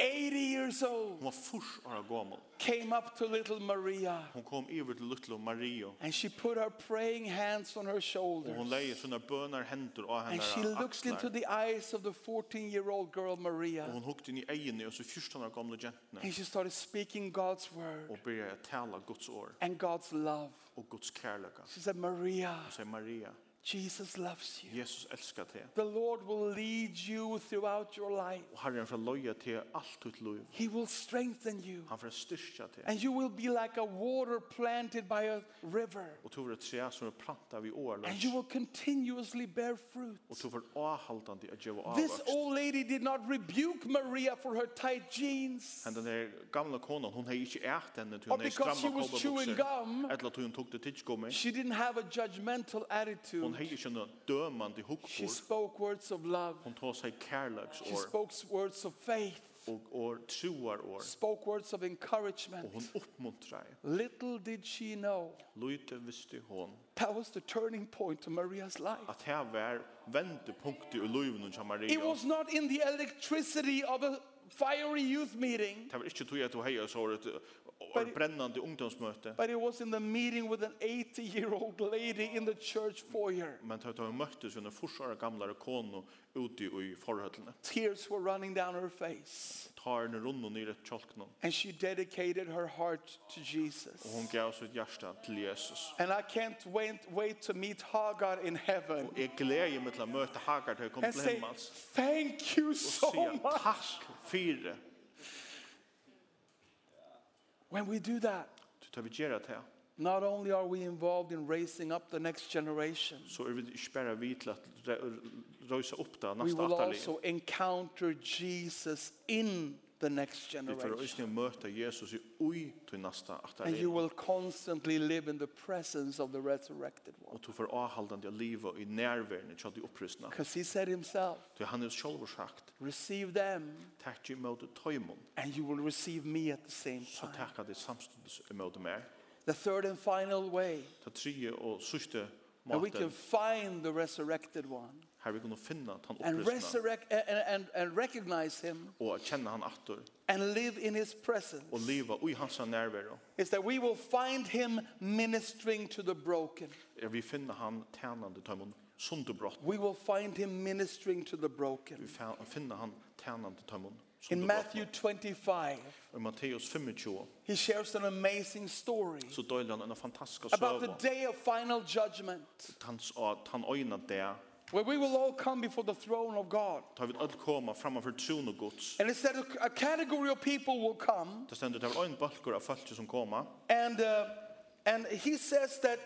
S2: 80 years old,
S3: Hon var furs år gammal.
S2: came up to little Maria
S3: Hon kom över till Lutlo Mario.
S2: and she put her praying hands on her
S3: Och hon
S2: shoulders.
S3: lägger sina bönar händer av henne
S2: And she looks into the eyes of the 14 year old girl
S3: Och
S2: Maria
S3: hon hukt in i ögonen och så först hon gamla jentna
S2: and she started speaking God's word
S3: och börjar tala Guds ord
S2: and God's love.
S3: och Guds kärlek.
S2: She said, Maria,
S3: Och säger Maria,
S2: Jesus loves you.
S3: Jesus älskar dig.
S2: The Lord will lead you throughout your life,
S3: Och Herren får loja till allt ditt liv.
S2: He will strengthen you.
S3: Han får styrka dig.
S2: And you will be like a water planted by a river.
S3: Och du får ett trä som är plantat vid
S2: And you
S3: årlös.
S2: will continuously bear fruit.
S3: Och du får avhaltande att ge
S2: This
S3: avvöxt.
S2: old lady did not rebuke Maria for her tight jeans
S3: Men den her gamla konan, hon har ikke ært henne til
S2: Or
S3: hun har
S2: because she
S3: stramma
S2: was chewing
S3: kålebukser.
S2: gum.
S3: Eller til hun tok det tidsgummi.
S2: she didn't have a judgmental
S3: Hon
S2: attitude.
S3: har ikke noen dømande
S2: She
S3: hukkbord.
S2: spoke words of love,
S3: Hon tar seg
S2: she
S3: kærlagsår
S2: spoke words of faith,
S3: og, og troarår.
S2: spoke words of encouragement.
S3: Og hun oppmuntrar.
S2: Little did she know
S3: Lute visste hon
S2: that was the turning point to Maria's life.
S3: at her var vendepunktet i livet hos Maria.
S2: It was not in the electricity of a fiery youth meeting,
S3: Det var ikke tog at du heier så var det
S2: But
S3: et
S2: it-
S3: brennande ungdomsmøte.
S2: but it was in the meeting with an 80 year old lady in the church foyer.
S3: Men da hun møttes under forsvare gamlare kono ute i forhøttene.
S2: Tears were running down her face.
S3: Tar henne rundt og nere tjolkene.
S2: And she dedicated her heart to Jesus.
S3: Og hun gav sitt hjerte til Jesus.
S2: And I can't wait, wait to meet Hagar in heaven
S3: Og jeg gleder meg til å møte Hagar til å komme
S2: and
S3: til
S2: say,
S3: himmels.
S2: Thank you
S3: Og
S2: so
S3: sier
S2: much.
S3: takk for det.
S2: When we do that,
S3: Så tar vi gjøre til.
S2: not only are we involved in raising up the next generation,
S3: Så er vi ikke bare vi til at røyse opp det
S2: we
S3: neste
S2: will
S3: atterlige.
S2: also encounter Jesus in the next
S3: Vi får
S2: generation.
S3: også møte Jesus i ui til neste
S2: And you
S3: atterlige.
S2: will constantly live in the presence of the resurrected one.
S3: Og du får avholdende livet i nærværende til de opprystene.
S2: Because he said himself,
S3: Så han er selv sagt,
S2: receive them
S3: takk imot tøymon,
S2: and you will receive me at the same
S3: så
S2: time.
S3: takk at det er samståndes imot mer.
S2: The third and final way
S3: Ta tredje og sørste
S2: that we can
S3: maten,
S2: find the resurrected one
S3: her vi kunne finne at han
S2: and,
S3: opprystene,
S2: resurrect, and, and, and recognize him
S3: og at kjenne han atter,
S2: and live in his presence
S3: og livet i hans nærværende.
S2: is that we will find him ministering to the broken.
S3: er vi finner han tjänande tömmen sunderbrott.
S2: We will find him ministering to the
S3: Vi
S2: broken.
S3: fa- finner han tjänande tömmen
S2: In Matthew
S3: sunderbrott.
S2: 25,
S3: I Matteus 25
S2: he shares an amazing story
S3: så döljer han en fantastisk
S2: about the
S3: söva.
S2: day of final judgment
S3: Han sa att han öjna det.
S2: where we will all come before the throne of God.
S3: Tar vi öll komma framför tron och gods.
S2: And it said a a category of people will come
S3: Det ständer det var en balkor av fölkje som komma.
S2: And, uh, and he says that,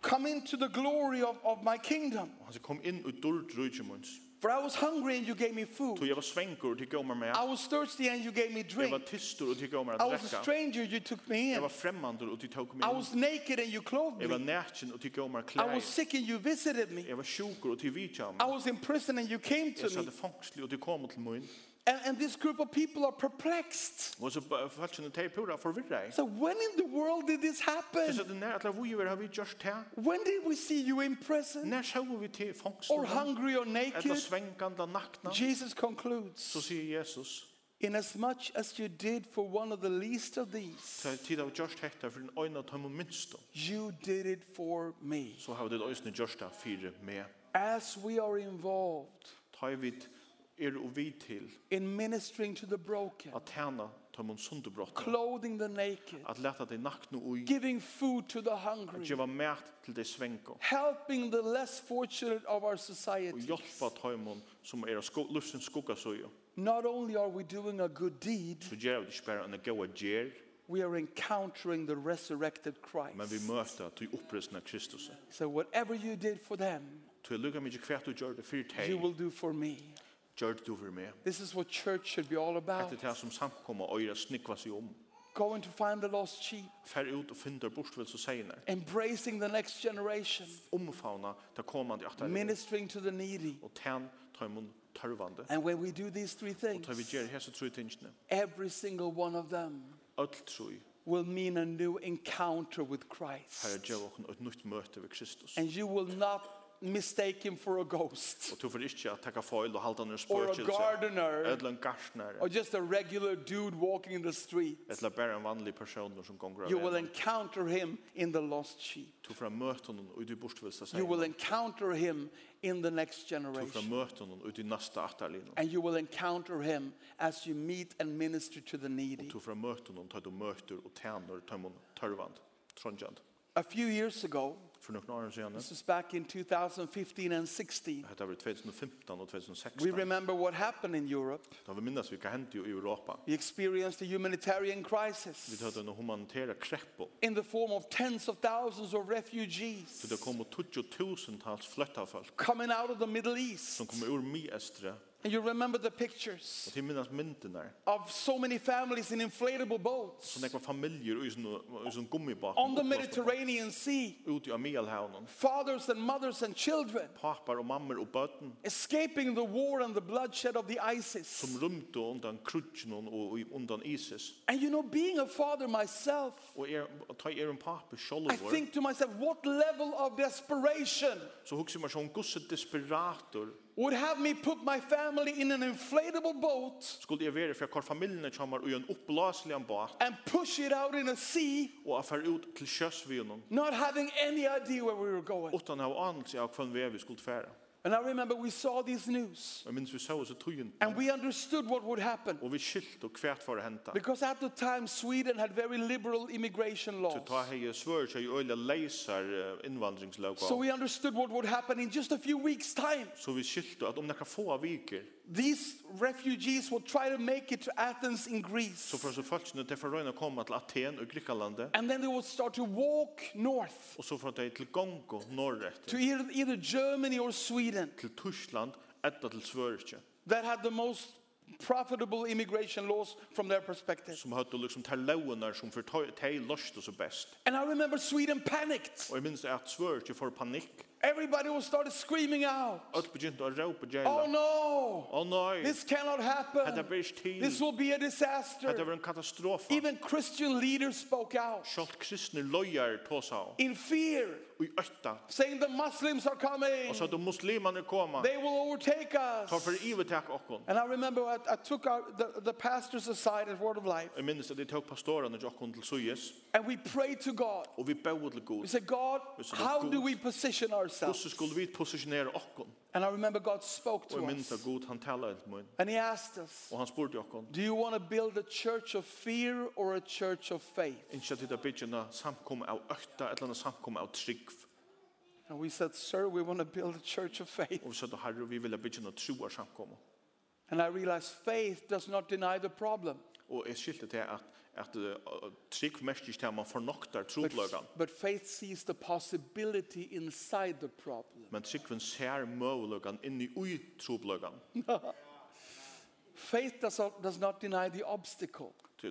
S2: come into the glory of, of my kingdom.
S3: Och han sa kom in och dörd rujtjemunds.
S2: For I was hungry and you gave me
S3: Tog
S2: food.
S3: jag var svänkor och tyckte om mig
S2: I
S3: med.
S2: was thirsty and you gave me
S3: Jag var
S2: drink.
S3: tyster och tyckte om mig
S2: I
S3: att
S2: was a
S3: dräcka.
S2: stranger, you took me
S3: Jag var
S2: in.
S3: främmande och tyckte tog mig
S2: I
S3: in.
S2: was naked and you clothed
S3: Jag var
S2: me.
S3: närtjen och tyckte om mig
S2: I was
S3: kläder.
S2: sick and you visited me.
S3: Jag var sjukor och tyckte vidtjam.
S2: I was in prison and you came
S3: Jag
S2: to
S3: satt
S2: me.
S3: i fångslig och tyckte kom till mun.
S2: And, and this group of people are perplexed.
S3: Og så falt sin tei pura forvirra.
S2: So when in the world did this
S3: Så
S2: happen?
S3: det nær at vi har vi just her.
S2: When did we see you in prison
S3: Nær så vi til
S2: or
S3: fangsten.
S2: hungry or
S3: Eller
S2: naked?
S3: svenkanda nakna.
S2: Jesus concludes.
S3: Så sier Jesus,
S2: Inasmuch as you did for one of the least of these,
S3: så er tid av just hekta for den øyne tøyme minst.
S2: you did it for me.
S3: Så har vi det øyne just her fire med.
S2: As we are involved
S3: Ta i vidt er og vi til
S2: in ministering to the broken,
S3: at hana tøyme sundebrott.
S2: clothing the naked,
S3: At leta dei nakna ui.
S2: giving food to the
S3: At
S2: hungry,
S3: gjeva mæt til dei svenko.
S2: helping the less fortunate of our
S3: Og
S2: society.
S3: hjelpa tøymon som er av sko- lufsens skuggasøyo.
S2: Not only are we doing a good deed,
S3: Så gjør vi det ikke bare en gaua gjer,
S2: we are encountering the resurrected
S3: men vi
S2: Christ.
S3: møter til opprøsna Kristus.
S2: So whatever you did for them,
S3: Tu lukka mig kvært du gjør det fyrir
S2: you
S3: teg,
S2: will do for me.
S3: gjør det du fyrir meg.
S2: This is what church should be all about.
S3: Hette det som samkomma øyra snikva sig om.
S2: Going to find the lost sheep.
S3: Fær ut og fyndar bortvels og seinar.
S2: embracing the next generation,
S3: Omfavna ta komandi atter.
S2: ministering to the needy.
S3: Og tæn tøymon tørvande.
S2: And when we do these three
S3: Og tar vi
S2: things,
S3: gjer hese tru tingene.
S2: every single one of them
S3: Öll trui
S2: will mean a new encounter with
S3: har
S2: Christ.
S3: gjør okken et nytt møte ved Kristus.
S2: And you will not mistake him for a ghost
S3: Og du får ikke at takka foil og halda nere
S2: or a
S3: spøkelse.
S2: gardener
S3: Eller en gartner.
S2: or just a regular dude walking in the street.
S3: Eller bare en vanlig person som gonger
S2: You will
S3: av.
S2: encounter him in the lost sheep.
S3: Du får møte honom og du bortvilsa seg.
S2: You will encounter him in the next
S3: Du får
S2: generation.
S3: møte honom ut i nästa attarlin.
S2: And you will encounter him as you meet and minister to the needy.
S3: Du får møte honom, tar du møter og tæner, tar man tørvand, tronjand.
S2: A few years ago,
S3: For noen år siden,
S2: this is back in 2015 and 16,
S3: dette var 2015 og 2016,
S2: we remember what happened in Europe.
S3: da vi minnes vi hva hendte jo i Europa.
S2: We experienced a humanitarian
S3: Vi
S2: crisis
S3: hørte en humanitære kreppo.
S2: in the form of tens of thousands of
S3: Så
S2: refugees
S3: det kom 20.000-tals fløttafolk
S2: coming out of the Middle East.
S3: som kom ur Miestre.
S2: And you remember the pictures.
S3: Og til minnes myndene,
S2: of so many families in inflatable boats
S3: så nekva familier og i sånn gummibak.
S2: on the Mediterranean Sea,
S3: Ute av Mielhavnen.
S2: fathers and mothers and children
S3: Papar og mammer og bøten
S2: escaping the war and the bloodshed of the
S3: som
S2: ISIS.
S3: rymte undan krutjen og i- undan ISIS.
S2: And you know, being a father myself,
S3: Og er, ta er en papir
S2: I
S3: sjolvor,
S2: think to myself, what level of desperation
S3: så hugsa man sjón gusse desperator
S2: would have me put my family in an inflatable boat
S3: skulle jeg være for hver familjen kommer og gjør en opplaselig en båt
S2: and push it out in a sea,
S3: og jeg fer ut til sjøsvinen
S2: not having any idea where we were going?
S3: utan å ha anelse av hvem vei vi skulle fære.
S2: And I remember we saw these news
S3: Jeg minns vi så oss i tøyen
S2: and we understood what would happen.
S3: og vi skilt og hvert for å hente.
S2: Because at the time, Sweden had very liberal immigration
S3: Så ta
S2: laws.
S3: hei svør seg i øyla leisar eh, innvandringsløk
S2: So
S3: av.
S2: we understood what would happen in just a few weeks' time.
S3: Så vi skilt at um om nekka få av viker
S2: These refugees would try to make it to Athens in
S3: så
S2: Greece.
S3: får så falskene til for å komme til Aten og Grikalandet
S2: And then they would start to walk north
S3: og så får de til Gongo norrett
S2: to either, either Germany or Sweden
S3: til Tyskland etter til Svørkje
S2: that had the most profitable immigration laws from their perspective.
S3: som hadde liksom ter launar som for teg lost og så best.
S2: And I remember Sweden panicked.
S3: Og jeg minns at Svørkje får panikk
S2: Everybody would start screaming out,
S3: Öll begynte att ropa
S2: Oh
S3: gälla.
S2: no,
S3: Åh nej,
S2: this cannot
S3: detta
S2: happen.
S3: blir
S2: This
S3: till.
S2: will be a
S3: Detta
S2: disaster.
S3: var en katastrof.
S2: Even Christian leaders spoke out
S3: Sjalt kristne lojar tåsa av.
S2: in fear,
S3: Och i ötta.
S2: saying the Muslims are coming.
S3: Och så att de muslimarna komma.
S2: They will overtake
S3: Ta
S2: us.
S3: för ivetak okkon.
S2: And I remember I, I took our, the, the pastors aside at Word of Life,
S3: Jag minns att det tog pastorerna till okkon till Sujes.
S2: and we prayed to God.
S3: Och vi bau till
S2: We
S3: god.
S2: said, God,
S3: We said,
S2: how
S3: "God."
S2: do we position ourselves?
S3: Gosse skulle vi positionera okkon.
S2: And I remember God spoke
S3: Och
S2: to
S3: jag
S2: us,
S3: minns att god han talade till mun.
S2: and He asked us,
S3: Och han spurte okkon.
S2: Do you want to build a church of fear or a church of faith?
S3: Inte att det byggerna samkom av ötta. Ett landa samkom av trygg.
S2: And we said, Sir, we want to build a church of faith.
S3: Och vi sa att herre vi vill byggerna troar samkomma.
S2: And I realized faith does not deny the problem,
S3: Og jeg skilte til at, at uh, trygg mest ikke til at man fornokter
S2: but,
S3: trodløgan.
S2: but faith sees the possibility inside the problem.
S3: Men tryggven ser møvløgan inni ui trodløgan.
S2: Faith does not, does not deny the obstacle,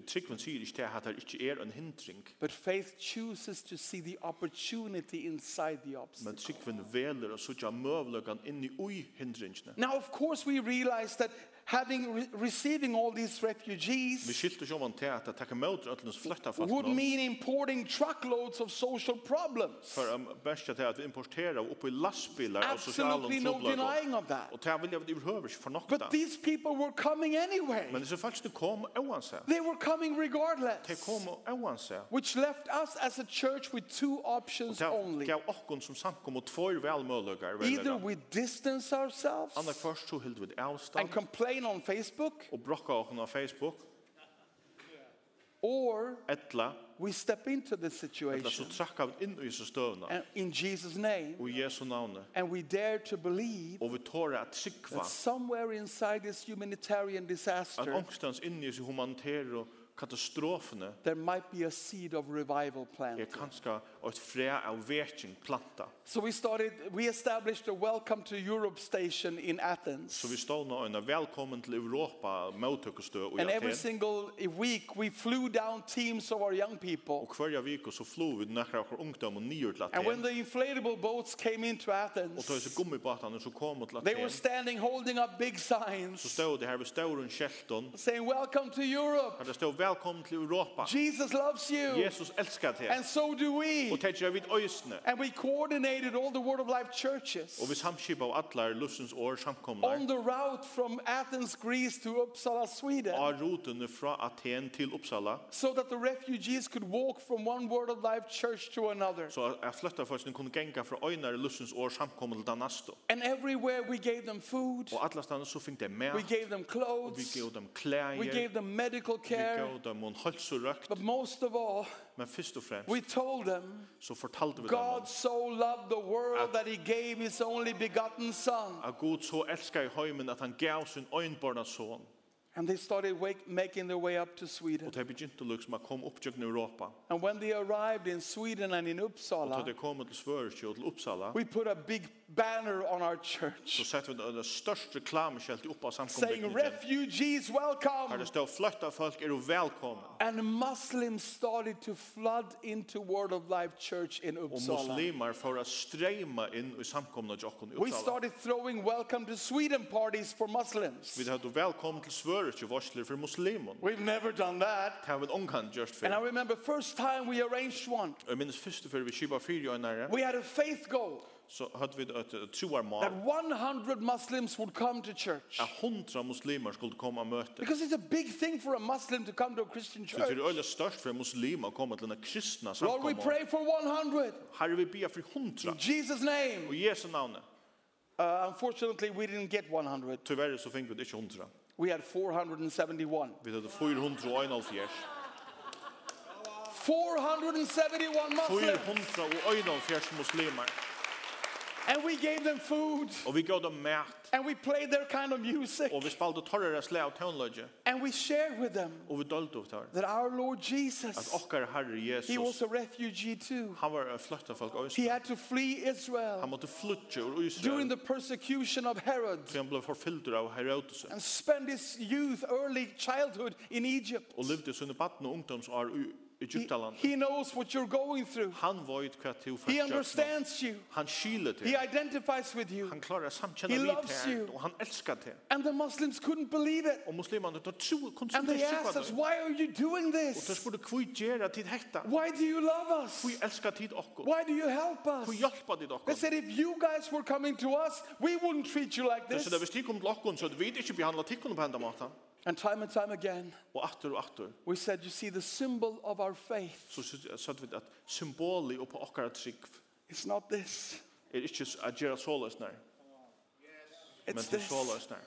S3: Tryggven sier ikke til at det ikke er en hindring.
S2: but faith chooses to see the opportunity inside the obstacle.
S3: Men tryggven veler å sutja møvløgan inni ui hindringene.
S2: Now, of course, we realize that having re- receiving all these
S3: Vi
S2: refugees
S3: skilte sjåman til at det takker møter øtlens fløtta fast
S2: would
S3: nå.
S2: mean importing truckloads of social problems.
S3: For um, best til at vi importerer oppe i lastbilar og sosialen
S2: Absolutely no
S3: trodløgan.
S2: denying of that.
S3: Og til vil jeg overhøver ikke fornokta.
S2: But these people were coming anyway.
S3: Men disse faktisk det kom oansett.
S2: They were coming
S3: Det
S2: regardless,
S3: kom oansett.
S2: which left us as a church with two options
S3: Det
S2: only.
S3: gav okkon som samkom og tvær velmølløgar.
S2: Either we distance ourselves
S3: Anna først så hild við
S2: and
S3: avstand
S2: complain on Facebook,
S3: og brokka okkun á Facebook
S2: or
S3: ella
S2: we step into this
S3: ella so
S2: situation
S3: trakka við inn í hesa støvna
S2: and in Jesus' name,
S3: og í Jesu navni
S2: and we dare to believe
S3: og við tora at
S2: that
S3: sikva
S2: somewhere inside this humanitarian
S3: at er
S2: disaster,
S3: omstans inn í hesa humanitæru katastrofene
S2: there might be a seed of revival
S3: er
S2: planted.
S3: kanska eitt fræ av veking planta.
S2: So we started, we established a Welcome to Europe station in
S3: Så
S2: Athens.
S3: vi stóna eina er velkommen til Europa móttøkustøð og
S2: And every
S3: Aten.
S2: single week, we flew down teams of our young people.
S3: Og hverja viku så flóu við nakra okkur ungdom og nýr til
S2: And when
S3: Aten.
S2: the inflatable boats came into
S3: Og tøy så
S2: Athens,
S3: gummibåtarna så komu til
S2: they were
S3: Aten.
S2: standing holding up big signs
S3: Så stóð det her við stórun skelton.
S2: saying, Welcome to Europe.
S3: Har det stod velkommen til Europa.
S2: Jesus loves you.
S3: Jesus elskar te.
S2: And so do
S3: Og
S2: we.
S3: te gjør vi øysene.
S2: And we coordinated all the Word of Life
S3: Og vi
S2: churches
S3: samskipa av atlar lussens år
S2: on
S3: samkomnar.
S2: the route from Athens, Greece to Uppsala, Sweden.
S3: Av rutene fra Aten til Uppsala.
S2: So that the refugees could walk from one Word of Life church to another.
S3: Så jeg flytta først kunne genga fra øynar lussens år samkomnar til Danasto.
S2: And everywhere we gave them food,
S3: Og atlastan så fink det med.
S2: we gave them
S3: Og vi
S2: clothes,
S3: gav dem klæger.
S2: we gave them medical
S3: Vi
S2: care.
S3: gav dem en halsurøkt.
S2: But most of all,
S3: Men først og fremst
S2: we told them
S3: så fortalte vi dem
S2: God so loved the world that he gave his only begotten son.
S3: at Gud så elskar i heimen at han gav sin øynborna son.
S2: And they started wake, making their way up to Sweden.
S3: Og er det begynte liksom å komme opptjøkken i Europa.
S2: And when they arrived in Sweden and in
S3: Og da
S2: Uppsala,
S3: det kom til Svørsjø og til Uppsala,
S2: we put a big banner on our
S3: så
S2: church
S3: sette vi det- det største reklameskjeltet opp av
S2: saying,
S3: samkommet.
S2: Refugees,
S3: Her det
S2: welcome!
S3: stod fløtt av folk, er du velkommen.
S2: And Muslims started to flood into Word of Life Church in
S3: Og
S2: Uppsala.
S3: muslimer får å streyma inn i samkommet til okken i
S2: We
S3: Uppsala.
S2: started throwing welcome to Sweden parties for Muslims.
S3: Vi hadde velkommen til Svørsjø varsler for muslimer. Det
S2: We've never done that.
S3: har vi en omkant just
S2: And I
S3: for.
S2: remember first time we arranged one.
S3: Og jeg minnes første før vi kjipa fire øynere,
S2: We had a faith goal
S3: så hadde vi et et troarmål.
S2: that 100 Muslims would come to church.
S3: at hundra muslimer skulle komme og møte.
S2: Because it's a big thing for a Muslim to come to a Christian
S3: Så det
S2: church.
S3: er øyla størst for muslimer å komme til denne kristna
S2: Lord, we
S3: samkommet.
S2: pray for 100
S3: Herre, vi bier for hundra.
S2: in Jesus' name.
S3: Og i Jesu navnet.
S2: Uh, unfortunately, we didn't get 100.
S3: Tyvärr så fick vi det inte hundra.
S2: We had 471.
S3: Vi hade 471.
S2: 471 Muslims.
S3: 471 muslimer.
S2: And we gave them food.
S3: Och vi gav dem mat.
S2: And we played their kind of music.
S3: Och vi spalde torrare slä av tonlöje.
S2: And we shared with them
S3: Och vi dolde upp där.
S2: that our Lord
S3: Att
S2: Jesus,
S3: åkare herre
S2: he was
S3: Jesus.
S2: a refugee too.
S3: Han var flötta folk och
S2: He had to flee Israel
S3: Han måtte flytta ur
S2: during
S3: Israel.
S2: the persecution of Herod
S3: Så han blev förfylld av Herodes.
S2: and spent his youth, early childhood in Egypt.
S3: Och levde sina barn och ungdomsår i
S2: He,
S3: Egyptaland.
S2: he knows what you're going through.
S3: Han vet hva
S2: He
S3: til for
S2: understands you.
S3: Han skiler
S2: He
S3: til.
S2: identifies with you.
S3: Han klarar samkjenna
S2: He
S3: vi
S2: loves
S3: til.
S2: you.
S3: Og han elskar til.
S2: And the Muslims couldn't believe it.
S3: Og muslimene tar tro, kom
S2: And
S3: til
S2: they asked us, why are you doing
S3: Og så
S2: this?
S3: spurte hva gjør tid hekta?
S2: Why do you love us?
S3: Hva elskar tid okkur?
S2: Why do you help us?
S3: Hva hjelpa tid
S2: They
S3: okkur?
S2: said, if you guys were coming to us, we wouldn't treat you like
S3: Det
S2: this.
S3: er hvis tid kom til okkur, så hadde vi ikke behandla tikkun på enda måten.
S2: And time and time again,
S3: Og atter og atter,
S2: we said, you see, the symbol of our faith
S3: så satt vi at symboli og på okkara trygg
S2: is not this,
S3: er ikke at gjøre såles nær, men
S2: it's
S3: til
S2: this.
S3: såles nær.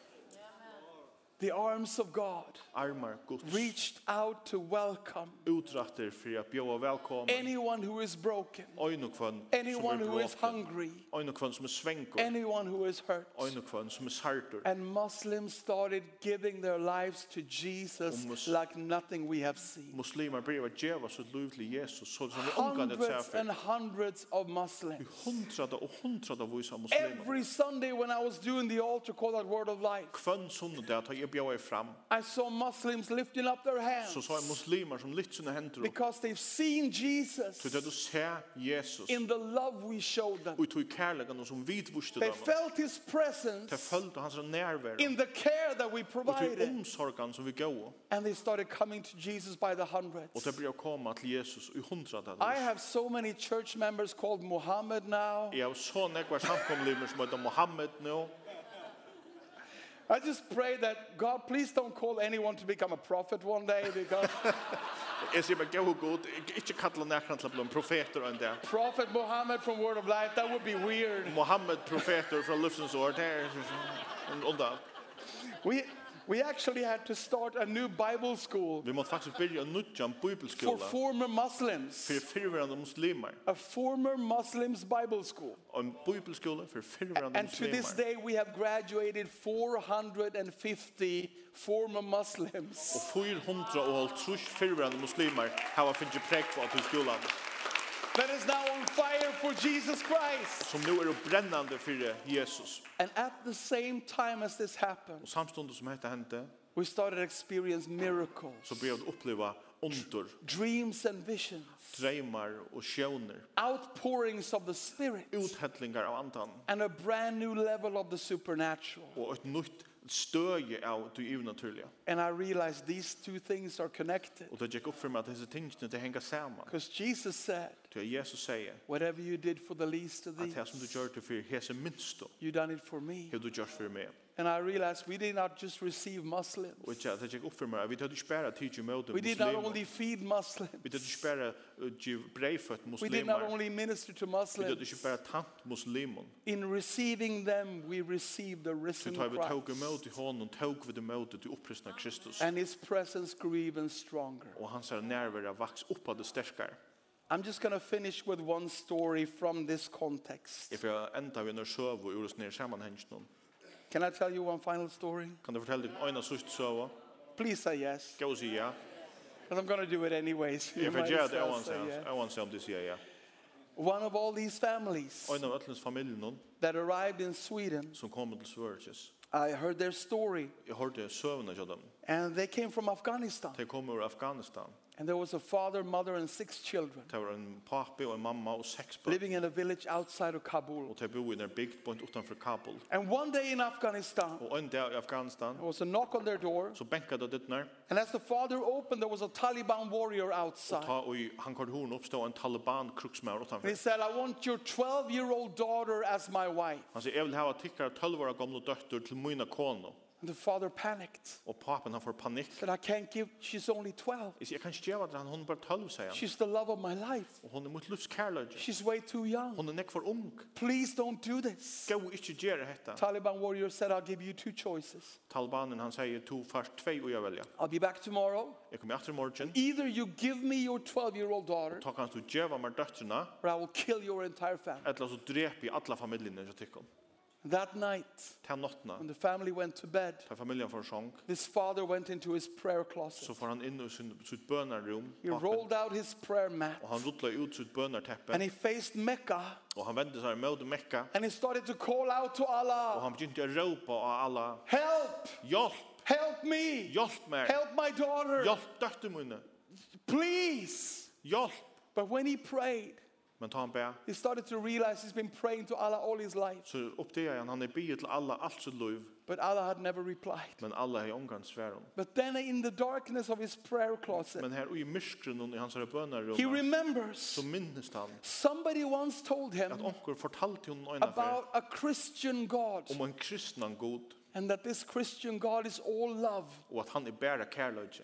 S2: The arms of God
S3: Armar Guds
S2: reached out to welcome
S3: utrattir for å bjóa velkommen.
S2: anyone who is broken,
S3: Øyne kvann som
S2: anyone
S3: er
S2: who is
S3: bråken.
S2: hungry,
S3: Øyne kvann som er svengur.
S2: anyone who is hurt.
S3: Øyne kvann som er sartur.
S2: And Muslims started giving their lives to Jesus
S3: Og mus-
S2: like nothing we have seen.
S3: Muslimar byrja at djeva sitt liv til Jesus, så som vi omgang det
S2: Hundreds
S3: seg
S2: and hundreds of Muslims.
S3: Hundrada og hundrada vísa muslimar.
S2: Every Sunday when I was doing the altar call at Word of Life,
S3: Kvønn sundag tar jeg bjóa fram.
S2: I saw Muslims lifting up their hands
S3: Så så er muslimar som litt sina hendur upp.
S2: because they've seen Jesus
S3: Så det du ser Jesus
S2: in the love we showed them.
S3: og i tog kærlegan som vidvuste
S2: They
S3: dem.
S2: felt his
S3: Det
S2: presence
S3: følte hans nærvær
S2: in the care that we
S3: og tog
S2: provided.
S3: omsorgan som vi gav.
S2: And they started coming to Jesus by the
S3: Og det
S2: hundreds.
S3: blir å komme til Jesus i hundrada.
S2: I have so many church members called Muhammad now.
S3: Jeg har så nekvar samkomlimer som heter um Mohammed nå.
S2: I just pray that God, please don't call anyone to become a prophet one day because
S3: Jeg sier bare, gav og god, ikke kalla nekran til å bli en profeter enn det.
S2: Prophet Muhammad from Word of Life, that would be weird.
S3: Mohammed profeter fra Lufsens år, det er en undan.
S2: We, we actually had to start a new Bible school
S3: Vi måtte faktisk byrja um nudja en
S2: for
S3: bibelskola
S2: former Muslims.
S3: for fyrverande muslimer.
S2: A former Muslims Bible school.
S3: Og um en bibelskola for fyrverande
S2: And to
S3: muslimer.
S2: this day, we have graduated 450 former Muslims.
S3: Og 450 fyrverande muslimer hava finnje prekk på til skolan.
S2: That is now on fire for Jesus Christ.
S3: Som nu er det brennande fyrir Jesus.
S2: And at the same time as this happened,
S3: Og samstundet som hette hente,
S2: we started to experience miracles,
S3: så blir det oppleva under,
S2: dreams and visions,
S3: dreymar og sjónir,
S2: outpourings of the Spirit,
S3: Uthetlingar av andan.
S2: and a brand new level of the supernatural.
S3: Og et nytt støye av det unaturlige.
S2: And I realized these two things are connected
S3: Og det gikk opp for meg at disse tingene det henger sammen.
S2: because Jesus said,
S3: Til Jesus sier
S2: Whatever you did for the least of
S3: at
S2: these,
S3: det som du gjør til for hese minst då,
S2: you done it for me.
S3: har du gjort for meg.
S2: And I realized we did not just receive Muslims,
S3: Og ikke- det gikk opp for meg at vi tar ikke bare tid til møte
S2: we did not
S3: muslimer.
S2: only feed Muslims,
S3: Vi tar ikke bare uh, gi breifødt
S2: we did not
S3: muslimer.
S2: only minister to
S3: Vi tar
S2: Muslims.
S3: ikke bare tant muslimer.
S2: In receiving them, we receive the
S3: Så
S2: risen
S3: tar vi tog
S2: Christ,
S3: imot i hånden, tog vi det møte til opprystna Kristus.
S2: and his presence grew even stronger.
S3: Og hans her nærvær vaks opp av det sterkare.
S2: I'm just going to finish with one story from this context.
S3: Jeg får enda vi når søv og gjøres ned sammenhengen.
S2: Can I tell you one final story?
S3: Kan du fortelle um deg om øyne sørst søv?
S2: Please say yes,
S3: Skal vi si ja?
S2: because I'm going to do it anyways. You
S3: Jeg får
S2: might
S3: gjøre
S2: as
S3: det
S2: well
S3: øyne
S2: say yes.
S3: sørst. Øyne sørst om de sier um ja.
S2: One of all these families
S3: Øyne av øtlens familien
S2: that arrived in Sweden,
S3: som kom til Sveriges.
S2: I heard their story,
S3: Jeg hørte søvnene til dem.
S2: and they came from Afghanistan.
S3: De kom ur Afghanistan.
S2: And there was a father, mother, and six children
S3: Det var en papi og en mamma og seks barn.
S2: living in a village outside of Kabul.
S3: Og de bor i en bygd på en utenfor Kabul.
S2: And one day in Afghanistan,
S3: Og en dag i Afghanistan,
S2: there was a knock on their door,
S3: så benka det ditt nær.
S2: and as the father opened, there was a Taliban warrior
S3: Og
S2: outside.
S3: ta og i hankard horn oppstå en Taliban-kruksmær
S2: And he
S3: utenfor.
S2: said, I want your 12 year old daughter as my wife.
S3: Han sier, jeg vil hava tikkar 12 år gamle døtter til mina kono.
S2: And the father panicked.
S3: Og papen han får panikk.
S2: Said, I can't give, she's only 12.
S3: Jeg sier, jeg kan ikke gjøre det, han hun er bare 12, sier han.
S2: She's the love of my life.
S3: Og hun er mot livskærløyde.
S2: She's way too young.
S3: Hun er nekk for ung.
S2: Please don't do this.
S3: Gå ikke gjøre dette.
S2: Taliban warrior said, I'll give you two choices.
S3: Talibanen han sier, to først tvei og jeg velja.
S2: I'll be back tomorrow.
S3: Jeg kommer etter i morgen.
S2: Either you give me your 12 year old daughter,
S3: Ta kanst du djeva med døtterna,
S2: or I will kill your entire family.
S3: eller så drep i alla familjene som tikkum.
S2: That night,
S3: Ta nottna,
S2: when the family went to bed,
S3: ta familjen for sjong,
S2: this father went into his prayer closet.
S3: så får han inn i sin, sitt bønarrum,
S2: He rolled out his prayer mat
S3: og han rullar ut sitt bønarteppe,
S2: and he faced Mecca
S3: og han vendte seg mot Mekka,
S2: and he started to call out to
S3: og
S2: Allah
S3: han begynte å ropa av alla,
S2: Help!
S3: hjelp,
S2: Help me!
S3: hjelp meg,
S2: Help my daughter!
S3: hjelp døtter mine,
S2: Please!
S3: hjelp.
S2: But when he prayed,
S3: Men ta han bær,
S2: he started to realize he's been praying to Allah all his life,
S3: så oppdager han, han er bier til alla, alt sitt liv,
S2: but Allah had never replied.
S3: men alla er omgang sverum.
S2: But then in the darkness of his prayer closet,
S3: Men her og i myskren i hans
S2: he
S3: bønarrum,
S2: remembers
S3: så minnes han,
S2: somebody once told him
S3: at onkur fortalte hun øyna for,
S2: about a Christian God.
S3: om en kristnan god,
S2: and that this Christian God is all love.
S3: og at han er bæra kærløyde.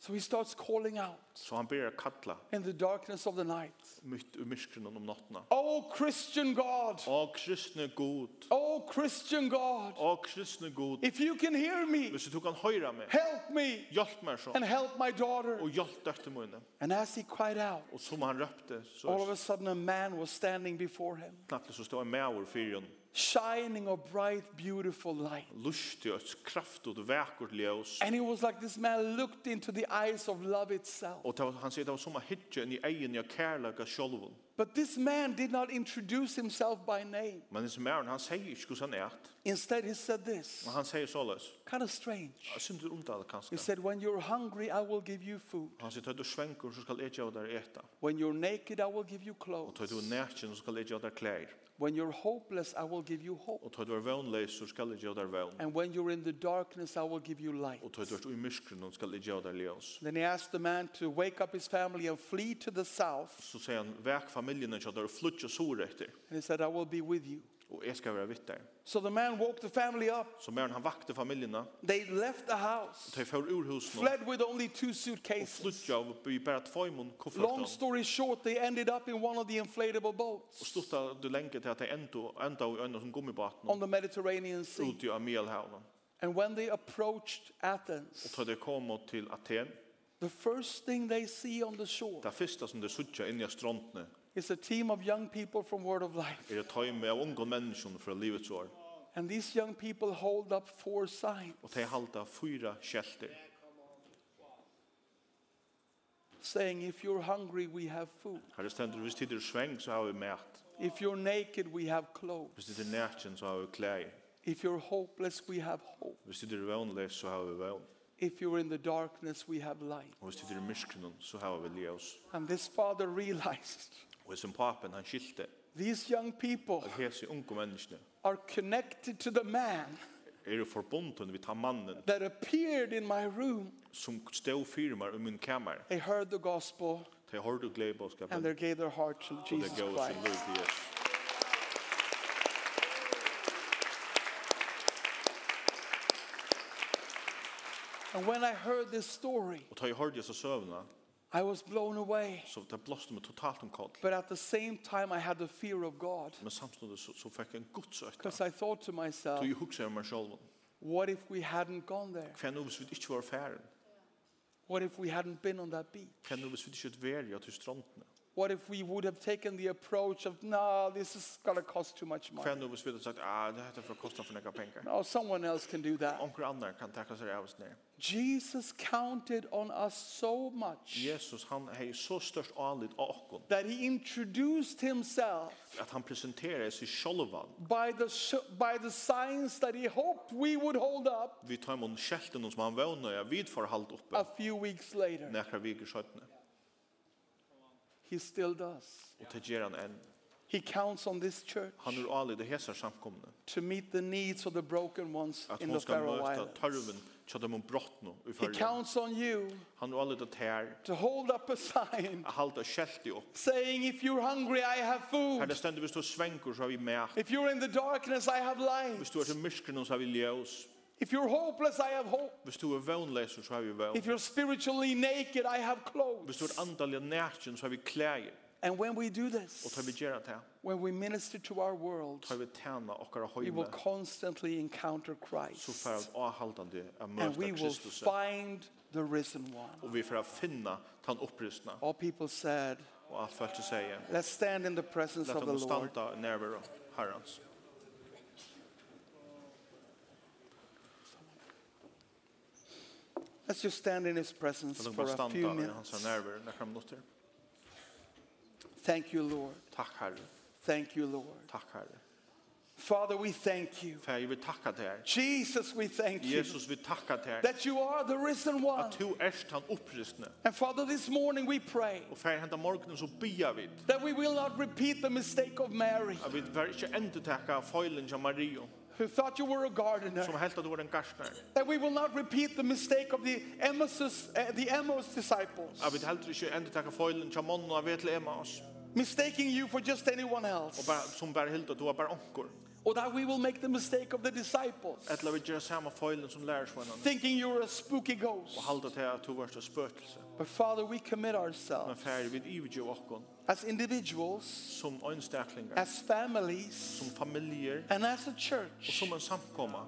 S2: So he starts calling out
S3: Så han byrjar kalla
S2: in the darkness of the night.
S3: mitt ur myskrunnen om nattena.
S2: Oh, Christian God!
S3: Å kristne god,
S2: Oh, Christian God!
S3: å kristne god,
S2: If you can hear me,
S3: hvis du kan høyra meg,
S2: help me
S3: hjelp meg så,
S2: and help my daughter.
S3: og hjelp døkte mine.
S2: And as he cried out,
S3: Og som han røpte, så
S2: all of a sudden a man was standing before him,
S3: knappt så stod jeg med over fyren,
S2: shining a bright, beautiful light.
S3: lustig og kraft og vekkert ljøs.
S2: And it was like this man looked into the eyes of love itself.
S3: Og det var, han sier det var som å hitje inn i egen i kærlega sjolven.
S2: But this man did not introduce himself by name.
S3: Men disse mæren, han sier ikke hos han er at.
S2: Instead, he said this
S3: Men han sier såles.
S2: kind of strange.
S3: Jeg synes du omtaler kanskje.
S2: He said, When you're hungry, I will give you food.
S3: Han sier, tar du svenker, så skal jeg gjøre der eta.
S2: When you're naked, I will give you
S3: Og er tar
S2: clothes.
S3: du nærkjen, så skal jeg gjøre der klær.
S2: When you're hopeless, I will give you hope.
S3: Og tøy du er vøgnleis, så skal jeg gjøre deg vøgn.
S2: And when you're in the darkness, I will give you light.
S3: Og tøy du er i myskren, så skal jeg gjøre deg ljøs.
S2: Then he asked the man to wake up his family and flee to the south.
S3: Så sier han, vek familjen ikke, og flytt og sår etter.
S2: And he said, I will be with you.
S3: Og jeg skal være vitt der.
S2: So the man woke the family up.
S3: Så mer han vakte familjene,
S2: They left the house,
S3: tøy for ur husen,
S2: fled with only two
S3: og
S2: suitcases.
S3: flytt av by bare tvøymon
S2: Long
S3: koffertan.
S2: story short, they ended up in one of the inflatable
S3: Og
S2: boats
S3: stutta du lenge til at jeg enda, enda i øynene som
S2: on
S3: gummibaten,
S2: the Mediterranean Sea.
S3: ute av Mielhavn.
S2: And when they approached Athens,
S3: Og tøy de kom til Aten,
S2: The first thing they see on the shore
S3: det første som de suttja inn i strontene,
S2: is a team of young people from Word of Life.
S3: er det tøyme av unge mennesker fra livets år.
S2: And these young people hold up four signs
S3: Og de halda fyra kjelter,
S2: saying, If you're hungry, we have food.
S3: Her stendur, hvis tid er sveng, så har vi mæt.
S2: If you're naked, we have clothes.
S3: Hvis tid er nætjen, så har vi klær.
S2: If you're hopeless, we have hope.
S3: Hvis tid er vøgnleis, så har vi vøgn.
S2: If you're in the darkness, we have light.
S3: Og hvis tid er myskrunnen, så har vi ljøs.
S2: And this father realized
S3: Og hvis en papen, han skilte,
S2: these young people
S3: at hese unge menneskene
S2: are connected to the man
S3: er forbunden vid ta mannen
S2: that appeared in my room.
S3: som stod fyrir meg i min kammer.
S2: They heard the gospel
S3: De har du glede på
S2: and
S3: skapen,
S2: they
S3: og
S2: gave their heart to
S3: det
S2: Jesus
S3: gav
S2: Christ.
S3: sin liv til Jesus.
S2: And when I heard this story,
S3: Og da jeg hørte Jesus søvna,
S2: I was blown away.
S3: så det blåste meg totalt om kall.
S2: But at the same time, I had the fear of God
S3: Men samtidig så, så fikk jeg en god søkta.
S2: because I thought to myself,
S3: Så jeg hukser meg selv.
S2: what if we hadn't gone there?
S3: Hva er noe hvis vi ikke var færen?
S2: What if we hadn't been on that beach?
S3: Hva er noe hvis vi ikke var i til strandene?
S2: What if we would have taken the approach of, no, this is going to cost too much
S3: Hva
S2: money?
S3: er noe hvis vi hadde sagt, ah, det heter for å koste for noen penger.
S2: No, someone else can do that.
S3: Onker annar kan takka seg av oss ned.
S2: Jesus counted on us so much
S3: Jesus, han hei så størst anlit av okkon,
S2: that he introduced himself
S3: at han presenterer seg sjolvan
S2: by the, sh- by the signs that he hoped we would hold up
S3: vi tar imot skjelten som han vågna jeg vid for halvt oppe
S2: a few weeks later.
S3: nekra viker skjøttene.
S2: He still does.
S3: Og det gjør han enn.
S2: He counts on this church
S3: Han er anlit det hesar samkomne.
S2: to meet the needs of the broken ones
S3: At
S2: in
S3: hon
S2: the
S3: skal
S2: Faroe
S3: møta
S2: Islands.
S3: tarven tja dem om brottno i
S2: He
S3: fyrre.
S2: counts on you
S3: Han er anlit det her
S2: to hold up a sign
S3: at halda skjelti opp.
S2: saying, If you're hungry, I have
S3: Her
S2: food.
S3: det stendur hvis du svenker så har vi med.
S2: If you're in the darkness, I have light.
S3: Hvis du er til myskren så har vi ljøs.
S2: If you're hopeless, I have hope.
S3: Hvis du er vågnleser så har vi
S2: If
S3: vågn.
S2: you're spiritually naked, I have
S3: Hvis
S2: clothes.
S3: du er andalig nærkjen så har vi klæger.
S2: And when we do
S3: Og tar
S2: this,
S3: vi gjerra det,
S2: when we minister to our world,
S3: tar vi tæna okkara
S2: we will
S3: høyme,
S2: constantly encounter Christ.
S3: så fer vi avhaldande av
S2: And
S3: møta
S2: we will
S3: Kristus.
S2: find the risen one.
S3: Og vi fer finna tan opprystna.
S2: All people said,
S3: Og alt fælt til seie,
S2: Let's stand in the presence
S3: let
S2: of the
S3: hon
S2: Lord.
S3: standa i nærvaro herrans.
S2: Let's just stand in his presence
S3: Let hon
S2: for
S3: bara
S2: a few
S3: standa i hans
S2: minutes.
S3: nærvaro nekra minutter.
S2: Thank you, Lord.
S3: Takk herre,
S2: Thank you, Lord.
S3: takk herre.
S2: Father, we thank you.
S3: Fær jeg vil takka til her.
S2: Jesus, we thank you
S3: Jesus vil takka til her.
S2: that you are the risen one.
S3: At du erst han opprystne.
S2: And Father, this morning we pray
S3: Og fær henda morgenen så bia vi.
S2: that we will not repeat the mistake of Mary,
S3: At vi var ikke endetekka foilen til Mario,
S2: who thought you were a gardener.
S3: som helt at du var en garstner.
S2: That we will not repeat the mistake of the Emmaus, uh, the Emmaus disciples,
S3: At vi heldur ikke endetekka foilen til Monna og Vetle Emmaus.
S2: mistaking you for just anyone
S3: Og
S2: else.
S3: bara, som bare helt at du var bare onkur.
S2: Or that we will make the mistake of the disciples,
S3: Etla vi gjør samme foilen som lærersvennan.
S2: thinking you're a spooky ghost.
S3: Og halda til at du varst et spøkelse.
S2: But Father, we commit
S3: Men
S2: ourselves
S3: fær vi ividgjø okkon
S2: as individuals,
S3: som ønstaklingar,
S2: as families,
S3: som familier,
S2: and as a
S3: og
S2: church
S3: som en samkomma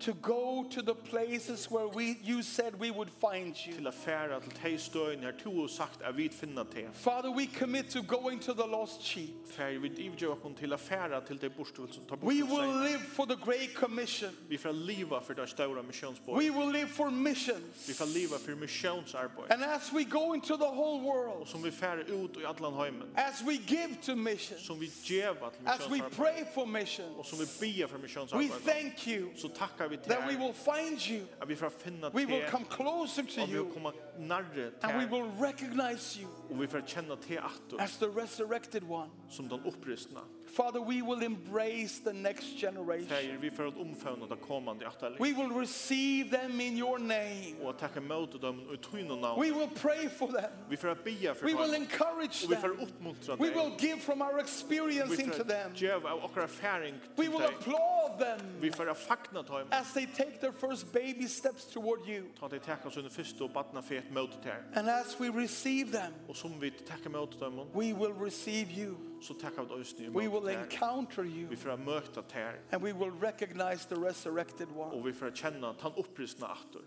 S2: to go to the places where we, you said we would find you.
S3: til at færa til tei støyn her to og sagt at vi finna til.
S2: Father, we commit to going to the lost sheep.
S3: Fær vi ividgjø okkon til at færa til tei borstuvel som tar
S2: We will
S3: borstuvel seg.
S2: live for the Great Commission.
S3: Vi får liva for det ståra missionsborg.
S2: We will live for missions.
S3: Vi får liva for missionsarbeid.
S2: And as we go into the whole
S3: Og
S2: world,
S3: som vi færa ut i allan heimen.
S2: as we give to missions,
S3: Som vi djeva til
S2: as we
S3: missionsarbeid.
S2: pray for missions,
S3: Og som vi bia for
S2: we
S3: missionsarbeid.
S2: thank you
S3: Så takkar vi til
S2: that we will find you.
S3: at vi får finna
S2: We
S3: til
S2: will come closer to
S3: og vi
S2: you.
S3: vil komme nærre
S2: And we
S3: til
S2: will recognize you
S3: og er. vi får kjenne til atter
S2: as the resurrected one.
S3: som den opprystna.
S2: Father, we will embrace the next generation.
S3: Fæger, vi får et omfavn av det kommande atterlig.
S2: We will receive them in your name.
S3: Og at takke møte dem og tyne navn.
S2: We will pray for them.
S3: Vi får bia for
S2: We will
S3: dem.
S2: encourage
S3: Og vi får
S2: them.
S3: oppmuntra
S2: We
S3: dem.
S2: will give from our experience
S3: Vi
S2: into them.
S3: får djeva av okra færing
S2: We
S3: til
S2: will
S3: dem.
S2: applaud them
S3: Vi får fagna dem.
S2: as they take their first baby steps toward you.
S3: Ta det takka oss under første og badna fet møte til.
S2: And as we receive them,
S3: Og som vi takkar møte dem,
S2: we will receive you.
S3: så takkar vi oss nye
S2: We will
S3: møte til.
S2: encounter you.
S3: Vi får møte til.
S2: And we will recognize the resurrected one.
S3: Og vi får kjenne den opprystna atter.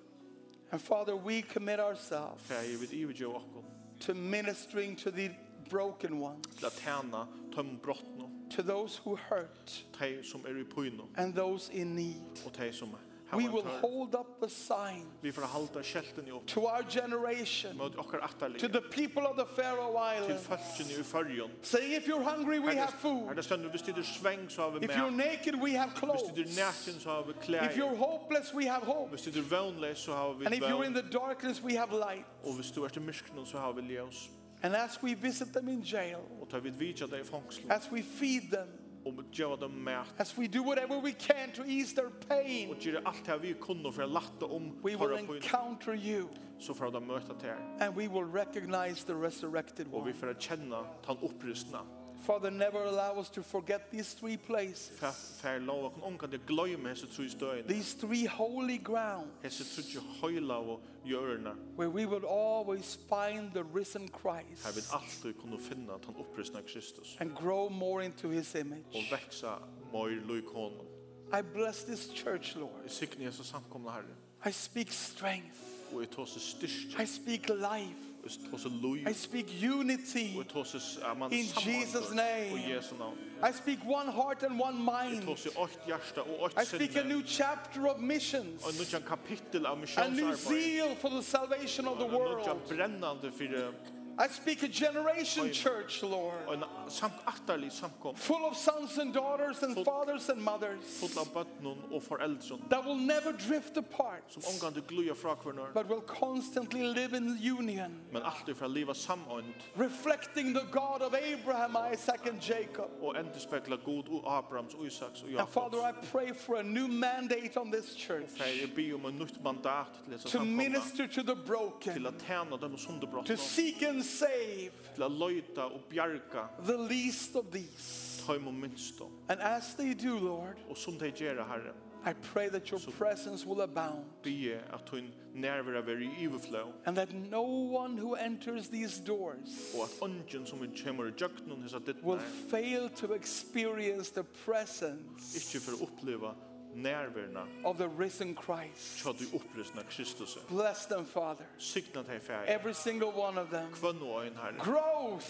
S2: And Father, we commit ourselves
S3: Fæger, vi vil ividgjø okkom.
S2: to ministering to the broken ones,
S3: til at tjene tøm brottene,
S2: to those who hurt
S3: de som er i pyne
S2: and those in need.
S3: og er. de som har
S2: We
S3: en
S2: will
S3: tørv.
S2: hold up the sign
S3: Vi får halda skjelten i opp
S2: to our generation,
S3: mot okkar
S2: to
S3: atterlige,
S2: the people of the Faroe
S3: til
S2: Islands,
S3: fødselen i fyrjon.
S2: saying, If you're hungry, we have
S3: Her
S2: food.
S3: det stender, hvis det er sveng, så har vi
S2: If you're
S3: med.
S2: naked, we have
S3: Hvis
S2: clothes.
S3: det er nækken, så har vi
S2: If
S3: klær.
S2: you're hopeless, we have hope.
S3: Hvis det er vønlig, så har vi
S2: And if you're in
S3: vøn.
S2: the darkness, we have light.
S3: Og hvis du er til myskene, så har vi ljøs.
S2: And as we visit them in jail,
S3: Og tar vi vidtja deg i fangslen,
S2: as we feed them,
S3: och göra dem med
S2: As we do whatever we can to ease their
S3: och
S2: pain,
S3: göra allt det här vi kunde för att latta om
S2: we will
S3: torra pojn
S2: encounter you
S3: så får de möta till er.
S2: and we will recognize the resurrected
S3: Och vi
S2: one.
S3: får känna tan upprustna.
S2: Father, never allow us to forget these three places,
S3: För för lova kan onka det glömma så tror stöd.
S2: these three holy ground
S3: Hesse tror ju hojla och görna.
S2: where we will always find the risen
S3: Här vid
S2: Christ
S3: allt kunde finna tan upprustna Kristus
S2: and grow more into his
S3: och
S2: image.
S3: växa mer lik honom.
S2: I bless this church, Lord.
S3: Sikne så samkomna Herre
S2: I speak strength.
S3: och ett oss styrst
S2: I speak life.
S3: och ett oss
S2: I
S3: loj
S2: speak
S3: och
S2: unity.
S3: ett oss är man
S2: In Jesus' name.
S3: Och Jesu namn.
S2: I speak one heart and one
S3: Ett
S2: mind.
S3: oss i åt hjärta och
S2: I
S3: åt
S2: speak a new
S3: sinne.
S2: chapter of missions.
S3: Och nu kan kapitel av
S2: A new
S3: missionsarbete.
S2: zeal for the salvation of the
S3: Og nu kan
S2: world.
S3: brennande för
S2: I speak a generation church, Lord,
S3: en samt attarlig samkom.
S2: full of sons and daughters and fathers and mothers
S3: full av bøtnen og foreldren
S2: that will never drift apart,
S3: som omgang til gluja fra hverandre,
S2: but will constantly live in union,
S3: men alltid fra livet samånd
S2: reflecting the God of Abraham, Isaac, and Jacob.
S3: og endespegla God og Abrahams og Isaks og
S2: And
S3: Jakobs.
S2: Father, I pray for a new mandate on this church
S3: Fær jeg bi om en nytt mandat til disse
S2: to
S3: samkomna,
S2: minister to the
S3: til
S2: broken,
S3: at tjene dem
S2: to
S3: sunderbrottene,
S2: seek and save
S3: til at løyta og bjerga
S2: the least of these.
S3: tøym og minstå.
S2: And as they do, Lord,
S3: Og som de gjør, Herre,
S2: I pray that your presence will abound.
S3: bi jeg at hun nærvera veri i iverflå,
S2: And that no one who enters these doors
S3: og at ånden som er hun kommer i djøkkenen hos at ditt
S2: will
S3: nær,
S2: fail to experience the presence
S3: ikke for å oppleva nærverna,
S2: of the risen Christ.
S3: tja du opprystna Kristus. er.
S2: Bless them, Father.
S3: Signa deg fær,
S2: Every single one of them.
S3: kvann og ein herre,
S2: Growth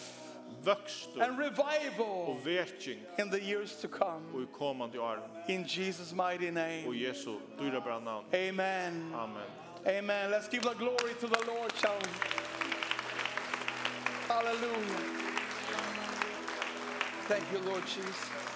S3: vöxtur
S2: and revival
S3: og veking
S2: in the years to come.
S3: og i komandi åren
S2: In Jesus' mighty
S3: og
S2: name.
S3: Jesu dyra bra navn.
S2: Amen.
S3: Amen.
S2: Amen. Let's give the glory to the Lord, shall we? Hallelujah. Thank you, Lord Jesus.